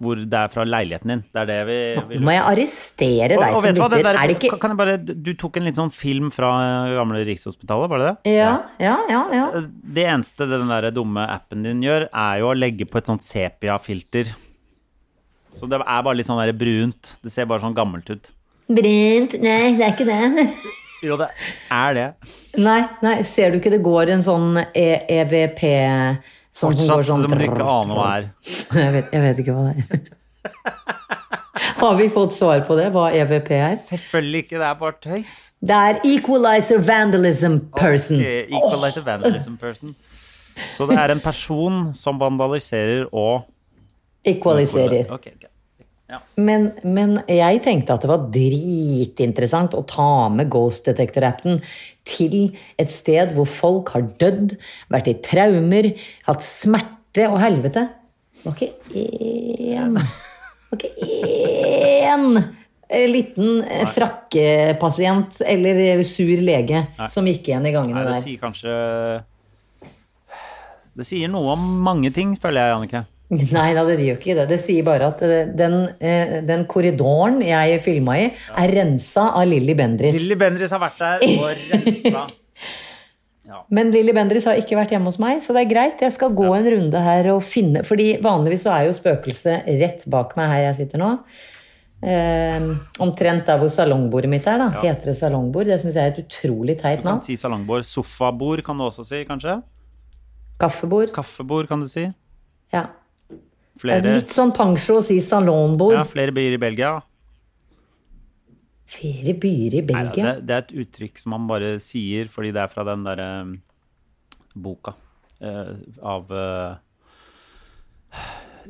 Hvor det er fra leiligheten din. Det er det vi, vi
Nå må jeg arrestere deg
Og, og
som
vet du hva, det
lytter.
der,
Er det ikke
kan jeg bare, du tok en litt sånn film fra eh, gamle Rikshospitalet, var det det?
Ja, ja, ja. ja.
Det eneste den der dumme appen din gjør, er jo å legge på et sånt sepia-filter. Så det er bare litt sånn der brunt. Det ser bare sånn gammelt ut.
Brent Nei, det er ikke det.
Jo, det er det.
Nei, nei, ser du ikke det går en sånn e EVP sånn som går
Fortsatt
sånn
som du ikke aner hva er.
Jeg vet, jeg vet ikke hva det er. Har vi fått svar på det, hva EVP er?
Selvfølgelig ikke, det er bare tøys.
Det er Equalizer Vandalism Person.
Ok, Equalizer vandalism person. Så det er en person som vandaliserer og
Equaliserer.
Ok, ok.
Men, men jeg tenkte at det var dritinteressant å ta med Ghost Detector-appen til et sted hvor folk har dødd, vært i traumer, hatt smerte og helvete. Det var ikke én Det var ikke én eh, liten eh, frakkepasient eller eh, sur lege som gikk igjen i
Nei,
gangene
det
der.
sier kanskje Det sier noe om mange ting, føler jeg, Jannicke.
Nei da, det gjør ikke det. Det sier bare at eh, den, eh, den korridoren jeg filma i, er rensa av Lilly Bendriss.
Lilly Bendriss har vært der og rensa.
Men Lilly Bendriss har ikke vært hjemme hos meg, så det er greit. Jeg skal gå en runde her og finne Fordi vanligvis så er jo spøkelset rett bak meg her jeg sitter nå. Eh, omtrent der hvor salongbordet mitt er, da. Heter det salongbord? Det syns jeg er et utrolig teit
Du kan
navn.
si salangbord. Sofabord kan du også si, kanskje?
Kaffebord.
Kaffebord kan du si.
Ja. Det er
Flere,
Litt sånn pangsjo å si salongbord.
ja, flere byer i Belgia
Ferie byer i
Nei,
Belgia?
det, det er et uttrykk som man bare sier fordi det er fra den derre um, boka eh, av eh,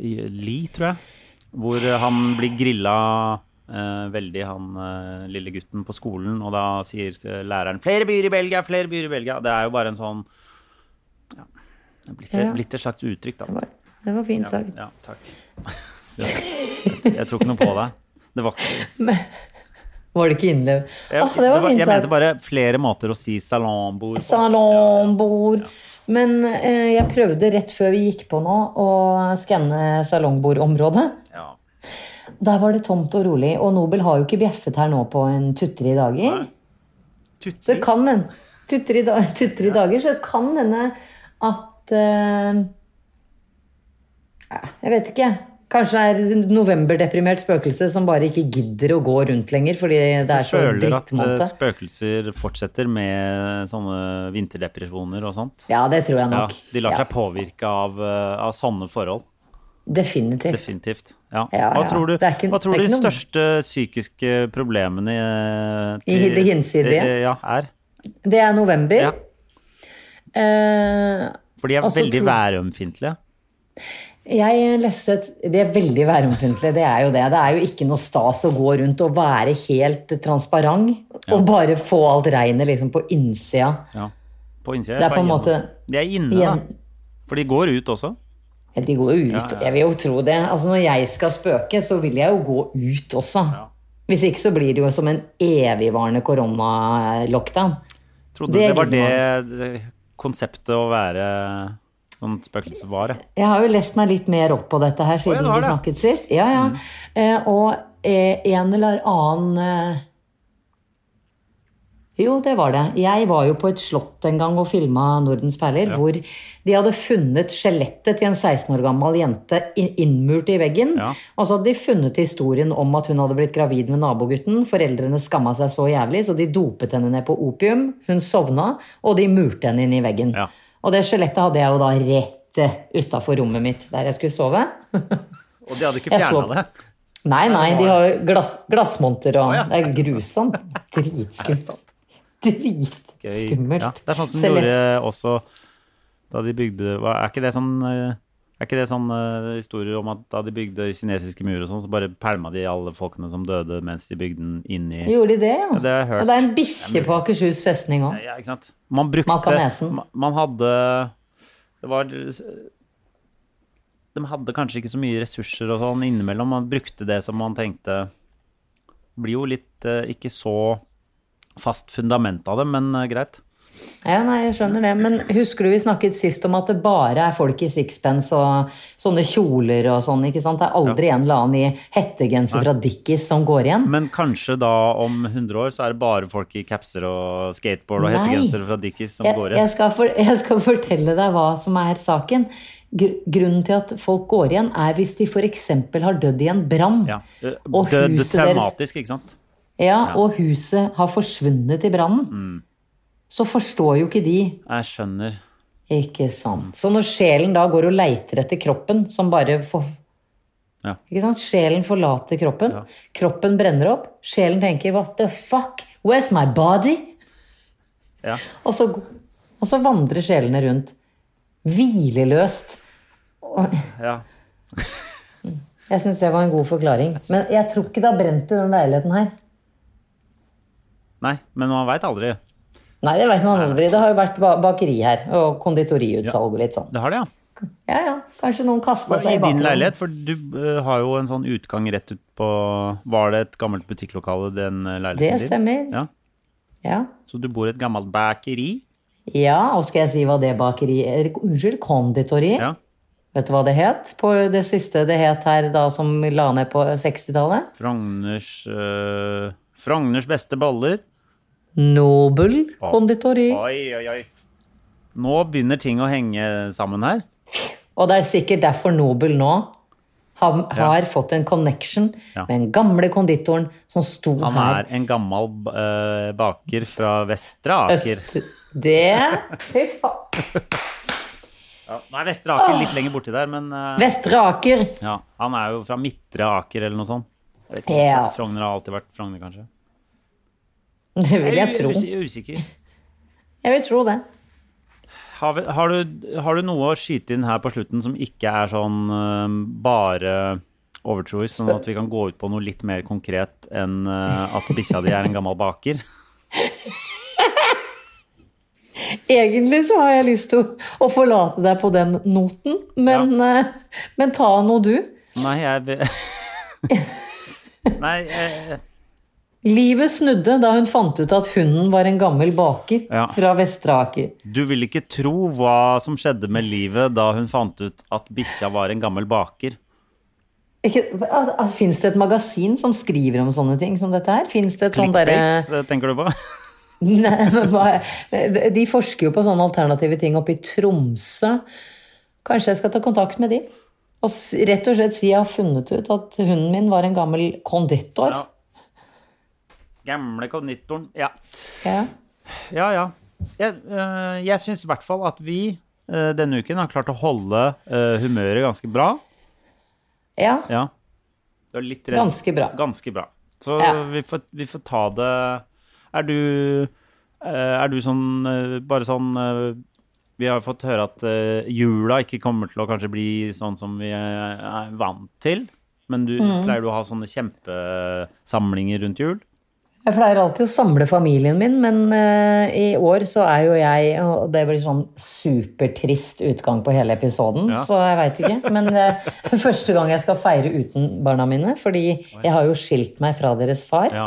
i- Lee, tror jeg. Hvor eh, han blir grilla eh, veldig, han eh, lille gutten på skolen, og da sier eh, læreren 'flere byer i Belgia, flere byer i Belgia'. Det er jo bare en sånn ja, det er blitt,
Ja, ja.
blitt et slags uttrykk,
Det
da.
var, det var fint sagt.
Ja, takk. Jeg, jeg tror ikke noe på deg. Det var ikke
Var det ikke innløp?
jeg,
Åh, det var fint
jeg
sagt.
mente bare flere måter å si salambord på.
Salongbord. Men eh, jeg prøvde rett før vi gikk på nå å skanne salongbordområdet.
Ja.
Der var det tomt og rolig, og Nobel har jo ikke bjeffet her nå på en tuttere dager. Så det kan en tuttere da, tutter i dager, så det kan hende at eh, ja, Jeg vet ikke. Kanskje det er novemberdeprimert spøkelse som bare ikke gidder å gå rundt lenger fordi det er så
føler at eh,
drittmåned.
spøkelser fortsetter med sånne vinterdepresjoner og sånt.
Ja, det tror jeg
Ja,
nok.
de lar
Ja,
seg påvirke av, eh, av sånne forhold.
definitivt.
Definitivt. Ja.
Ja,
Hva
ja.
tror du,
Det er ikke-
hva tror
det
du
er
de
ikke noe-
største psykiske problemene eh,
I det hinsidige?
eh, Ja, er?
Det er november.
Ja.
Eh,
For de er
Og så
veldig
tror-
værømfintlige.
jeg lesset Det er veldig væromfintlig, det er jo det. Det er jo ikke noe stas å gå rundt og være helt transparent og bare få alt regnet liksom på innsida.
Ja. På innsida.
Det er på en
inne.
måte-
De er inne,
Igjen.
da. For de går ut også.
Ja, De går jo ut. Jeg vil jo tro det. Altså, når jeg skal spøke, så vil jeg jo gå ut også. Hvis ikke så blir det jo som en evigvarende koronalockdown.
Trodde
Det
det,
er
var det,
genialt.
det konseptet å være sånn spøkelse var. ja.
Jeg har jo lest meg litt mer opp på dette her
ja,
siden
du har
vi
det. Mm.
snakket sist. Ja, ja. Eh, og eh, en eller annen eh... Jo, det var det. Jeg var jo på et slott en gang og filma Nordens perler, hvor de hadde funnet skjelettet til en 16 år gammel jente inn- innmurt i veggen.
Ja.
Og så hadde Altså, de funnet historien om at hun hadde blitt gravid med nabogutten. Foreldrene skamma seg så jævlig, så de dopet henne ned på opium. Hun sovna, og de murte henne inn i veggen.
Ja.
Og det skjelettet hadde jeg jo da rett utafor rommet mitt der jeg skulle sove.
Og de hadde ikke
Jeg så-
fjerna det.
Nei, nei, de har jo glass, glassmonter
Å
og
ja,
Det er grusomt. Dritskummelt.
Gøy.
Dritskummelt.
Ja, det er sånn som de
Celeste-
gjorde også da de bygde hva- Er ikke det sånn eh, er ikke det sånn eh, historier om at da de bygde kinesiske murer og sånn, så bare pælma de alle folkene som døde mens de bygde den inn i
Gjorde de det, ja?
det har jeg hørt.
Og det er en bikkje på Akershus festning òg.
Ja, ikke sant? Man brukte
Makanesen.
ma- Man hadde Det var De hadde kanskje ikke så mye ressurser og sånn innimellom. Man brukte det som man tenkte Blir jo litt eh, ikke så fast fundament av det, men eh, greit.
Ja, nei, jeg skjønner det. Men husker du vi snakket sist om at det bare er folk i sixpence og sånne kjoler og sånn, ikke sant? Det er aldri en eller annen i hettegenser fra Dickies som går igjen.
Men kanskje da om 100 år så er det bare folk i capser og skateboard og
Nei.
hettegensere fra Dickies som
Jeg,
går
jeg,
igjen.
skal for, jeg skal fortelle deg hva som er saken. Gr grunnen til at folk går igjen, er hvis de f.eks. har dødd i en brann.
Ja. Eh,
Og
Død
huset
traumatisk, ikke sant?
Ja, og huset har forsvunnet i brannen.
Mm.
Så forstår jo ikke de.
Jeg skjønner.
Ikke sant. Så når sjelen da går og leiter etter kroppen, som bare for,
Ja.
Ikke sant? Sjelen forlater kroppen. Kroppen brenner opp. Sjelen tenker 'what the fuck? Where's my body?'
Ja.
Og så, og så vandrer sjelene rundt. Hvileløst. Og-
ja.
Jeg syns det var en god forklaring. Men jeg tror ikke det har brent i den leiligheten her.
Nei, men man veit aldri.
Nei, det vet man aldri. Det har jo vært ba- bakeri her, og konditoriutsalg og litt sånn.
Det har det, ja.
Ja, ja. Kanskje noen kasta
I
seg i
din
bakgrunnen.
leilighet, for du eh, har jo en sånn utgang rett ut på Var det et gammelt butikklokale, den eh,
Det
leiligheten din?
stemmer.
Ja.
Ja.
Så du bor i et gammelt bakeri?
ja, og skal jeg si hva det bakeriet er? Unnskyld, konditori.
Ja.
Vet du hva det het? På det siste det het her da som la ned på 60-tallet?
Frogners eh, Frogners beste boller.
Nobel konditori.
Oi, oi, oi. Nå begynner ting å henge sammen her.
Og det er sikkert derfor Nobel nå har, har fått en connection
Ja.
med den gamle konditoren som sto
Han
her.
er en gammel eh, baker fra Vestre Aker.
Øst. Det Fy faen.
Ja, Nei, Vestre Aker litt lenger borti der, men eh,
Vestre Aker!
ja, han er jo fra Midtre Aker eller noe sånt. Jeg vet ikke,
Ja.
Frogner har alltid vært Frogner, kanskje.
Det vil jeg tro.
us- usikker.
Jeg vil tro det.
Har, vi, har, du, har du noe å skyte inn her på slutten som ikke er sånn eh, bare overtroisk, sånn at vi kan gå ut på noe litt mer konkret enn eh, at bikkja di er en gammel baker?
Egentlig så har jeg lyst til å, å forlate deg på den noten, men, eh, men ta noe du.
Nei, jeg vil- Nei, eh,
Livet snudde da hun fant ut at hunden var en gammel baker
Ja.
fra Vestre Aker.
du vil ikke tro hva som skjedde med livet da hun fant ut at bikkja var en gammel baker.
Fins det et magasin som skriver om sånne ting som dette her? Fins det et sånn derre
Clickbaits, eh, tenker du på?
Nei, men hva er- De forsker jo på sånne alternative ting oppe i Tromsø. Kanskje jeg skal ta kontakt med de? Og s- rett og slett si jeg har funnet ut at hunden min var en gammel konditor.
Ja. Gamle konditoren. Ja.
Ja.
Ja, ja. Jeg, øh, jeg syns i hvert fall at vi øh, denne uken har klart å holde øh, humøret ganske bra.
ja,
Ja. Du er litt redd.
ganske bra.
Ganske bra. Så
Ja.
vi, får, vi får ta det Er du øh, Er du sånn øh, Bare sånn øh, Vi har fått høre at øh, jula ikke kommer til å kanskje bli sånn som vi øh, er vant til. Men du
Mm.
pleier du å ha sånne kjempesamlinger rundt jul?
Jeg pleier alltid å samle familien min, men eh, i år så er jo jeg Og det blir sånn supertrist utgang på hele episoden,
Ja.
så jeg veit ikke. Men det er første gang jeg skal feire uten barna mine, fordi jeg har jo skilt meg fra deres far.
Ja.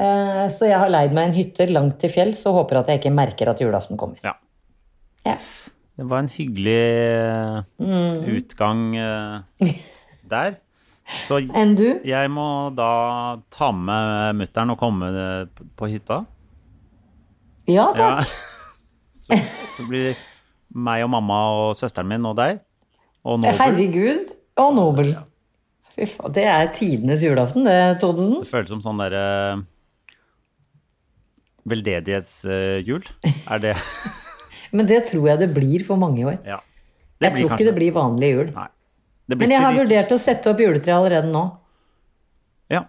Eh, Så jeg har leid meg en hytte langt til fjells og håper at jeg ikke merker at julaften kommer.
ja.
Ja.
Det var en hyggelig
Mm.
eh, utgang eh, der. Så
Enn du?
jeg må da ta med mutter'n og komme eh, p- på hytta.
Ja
Ja.
takk.
Så, så blir det meg og mamma og søsteren min og deg. Og Nobel.
Herregud. Og Nobel. Fy faen, det er tidenes julaften, det, Todesen.
Det føles som sånn derre veldedighetsjul. eh, Er det
Men det tror jeg det blir for mange i år.
Ja.
Jeg tror ikke det blir vanlig jul.
Nei. Det blir
Men jeg
ikke
har
de-
vurdert å sette opp juletre allerede nå.
ja.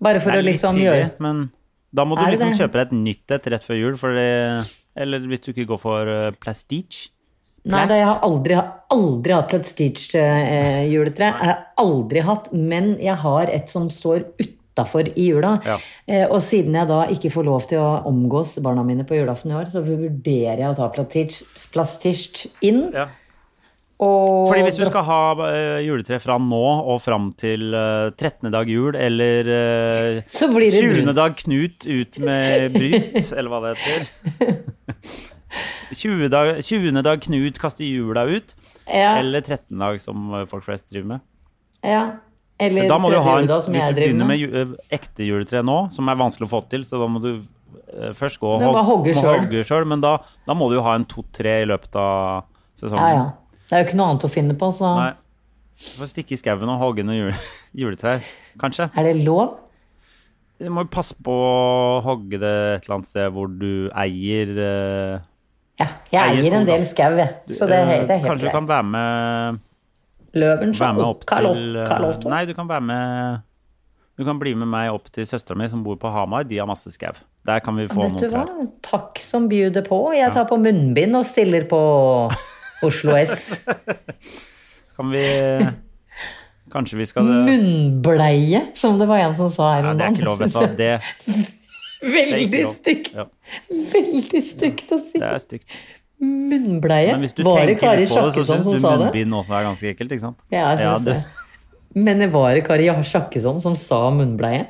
Bare for
Det
å
er litt
liksom
tidlig,
gjøre
Men da må du
Er det
liksom
det?
kjøpe deg et nytt et rett før jul, for det, eller hvis du ikke går for eh, prestige.
Nei,
plast.
da, jeg har aldri, aldri hatt prestige-juletre. jeg har aldri hatt, men jeg har et som står utafor i jula.
Ja.
Eh, og siden jeg da ikke får lov til å omgås barna mine på julaften i år, så vurderer jeg å ta platisj- plastisj inn.
Ja.
Og
Fordi hvis du skal ha eh, juletre fra nå og fram til eh, 13. dag jul, eller eh,
Så blir det
20.
brunt.
dag Knut ut med bryt, eller hva det heter. 20. dag, 20. dag Knut kaster jula ut,
ja,
eller 13. dag som eh, folk flest driver med.
ja. Eller
Da må du
tredje
ha en,
juledag, som
Hvis
jeg
du
driver
begynner med ju- eh, ekte juletre nå, som er vanskelig å få til, så da må du eh, først gå og
Du må
hog-
hogge
må
selv.
hogge selv, Men da, da må du jo ha en to-tre i løpet av sesongen.
Ja, ja. Det er jo ikke noe annet å finne på, så
Nei. Du får stikke i skauen og hogge noen jule, juletrær, kanskje.
er det lov?
Du må jo passe på å hogge det et eller annet sted hvor du eier eh,
Ja, jeg
Eier
eier
skog,
en
da.
del skau, jeg. Så det, er he- det er
eh,
helt
Kanskje du
greit.
kan være med,
Løven
være med opp
Karl
til eh,
Otto.
Nei, du kan være med Du kan bli med meg opp til søstera mi som bor på Hamar. De har masse skau. Der kan vi få
Vet du
noen
hva?
trær.
Takk som bjuder på. Jeg tar på munnbind og stiller på Oslo S.
Kan vi Kanskje vi skal
Munnbleie, som det var en som sa her
Nei,
om
det er ikke lov, vet du hva. Det, det er ikke
Veldig
lov.
stygt.
Ja,
Veldig stygt å si.
det er stygt.
Munnbleie.
Men hvis du
Var det
tenker
Kari
litt på det, så
Sjakkesson
syns
som
du
sa det?
munnbind også er ganske ekkelt, ikke sant?
Ja, jeg
Ja,
syns
du-
det. Men det var det Kari Sjakkesson som sa munnbleie?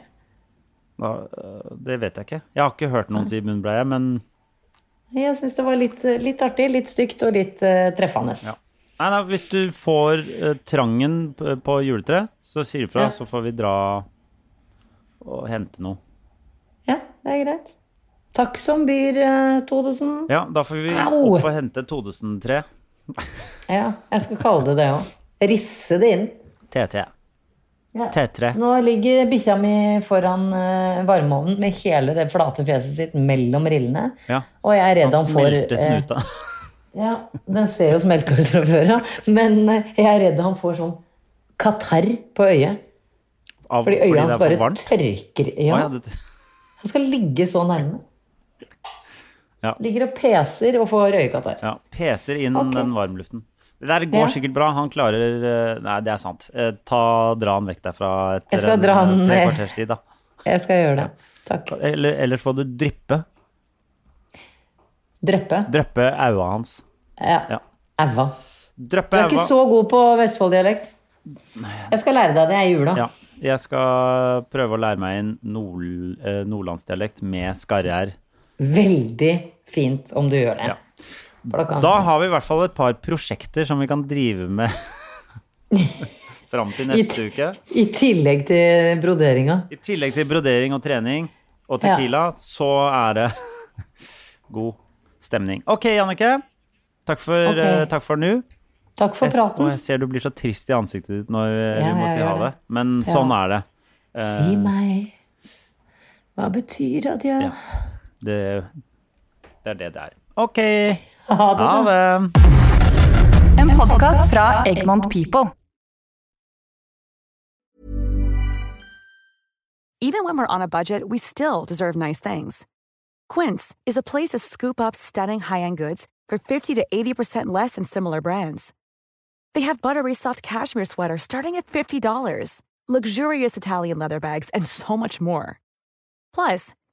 Da, øh, det vet jeg ikke. Jeg har ikke hørt noen si munnbleie, men
Jeg syns det var litt, litt artig, litt stygt og litt eh, treffende.
Ja. Nei, nei, hvis du får eh, trangen p- på juletre, så sier du fra,
Ja.
så får vi dra og hente noe.
Ja, det er greit. Takk som byr, eh, Todesen.
Ja, da får vi
Au!
opp og hente Todesen-tre.
Ja, jeg skal kalle det det òg. Risse det inn.
TT.
Ja.
T3.
Nå ligger bikkja mi foran eh, varmeovnen med hele det flate fjeset sitt mellom rillene.
Ja. Sånn
Og jeg er redd han får
smelte
eh,
snuta.
ja, Den ser jo smelta ut fra før av, men eh, jeg er redd han får sånn katarr på øyet.
Av,
Fordi
fordi,
øyet
det
hans
er for
bare
varmt.
tørker.
Å,
Ja,
ja, det,
Han skal ligge så nærme.
Ja.
Ligger og peser og får røyekatarr.
Ja, peser inn
Ok.
den varmluften. Det der går
Ja.
sikkert bra. Han klarer eh, Nei, det er sant. Eh, Ta, dra han vekk derfra etter
Jeg skal dra
eh,
han
tre
ned.
kvarters tid, da.
Jeg skal gjøre det. Takk.
Eller, ellers får du dryppe.
Dreppe.
Dryppe aua hans. Ja.
Ja. Æva. Du
Dryppe
er ikke
aua.
så god på Vestfold-dialekt. Jeg skal lære deg det i jula.
Ja. Jeg skal prøve å lære meg en nord, eh, nordlandsdialekt med skarre-r.
Veldig fint om du gjør det.
Ja.
For da kan
Da har vi i hvert fall et par prosjekter som vi kan drive med fram til neste
I-
uke.
I tillegg til broderinga.
I tillegg til brodering og trening og
Ja.
Tequila, så er det god stemning. Ok, Jannicke. Takk for,
Ok.
eh, takk for nå.
Takk for
Jeg, s- og
praten.
jeg ser du blir så trist i ansiktet ditt når eh,
Ja,
vi må
jeg
si
gjør
ha det.
det.
Men sånn er det.
Si meg, hva betyr adjø?
Ja. det. Det er det det er. Ok,
Ha det.
ha
bra.
det.
En podkast fra Egmont People.
Even when we're on a budget, we still deserve nice things. Quince is a place to scoop up stunning high-end goods for 50 to 80% less than similar brands. They have buttery soft cashmere sweaters starting at $50, luxurious Italian leather bags, and so much more. Plus,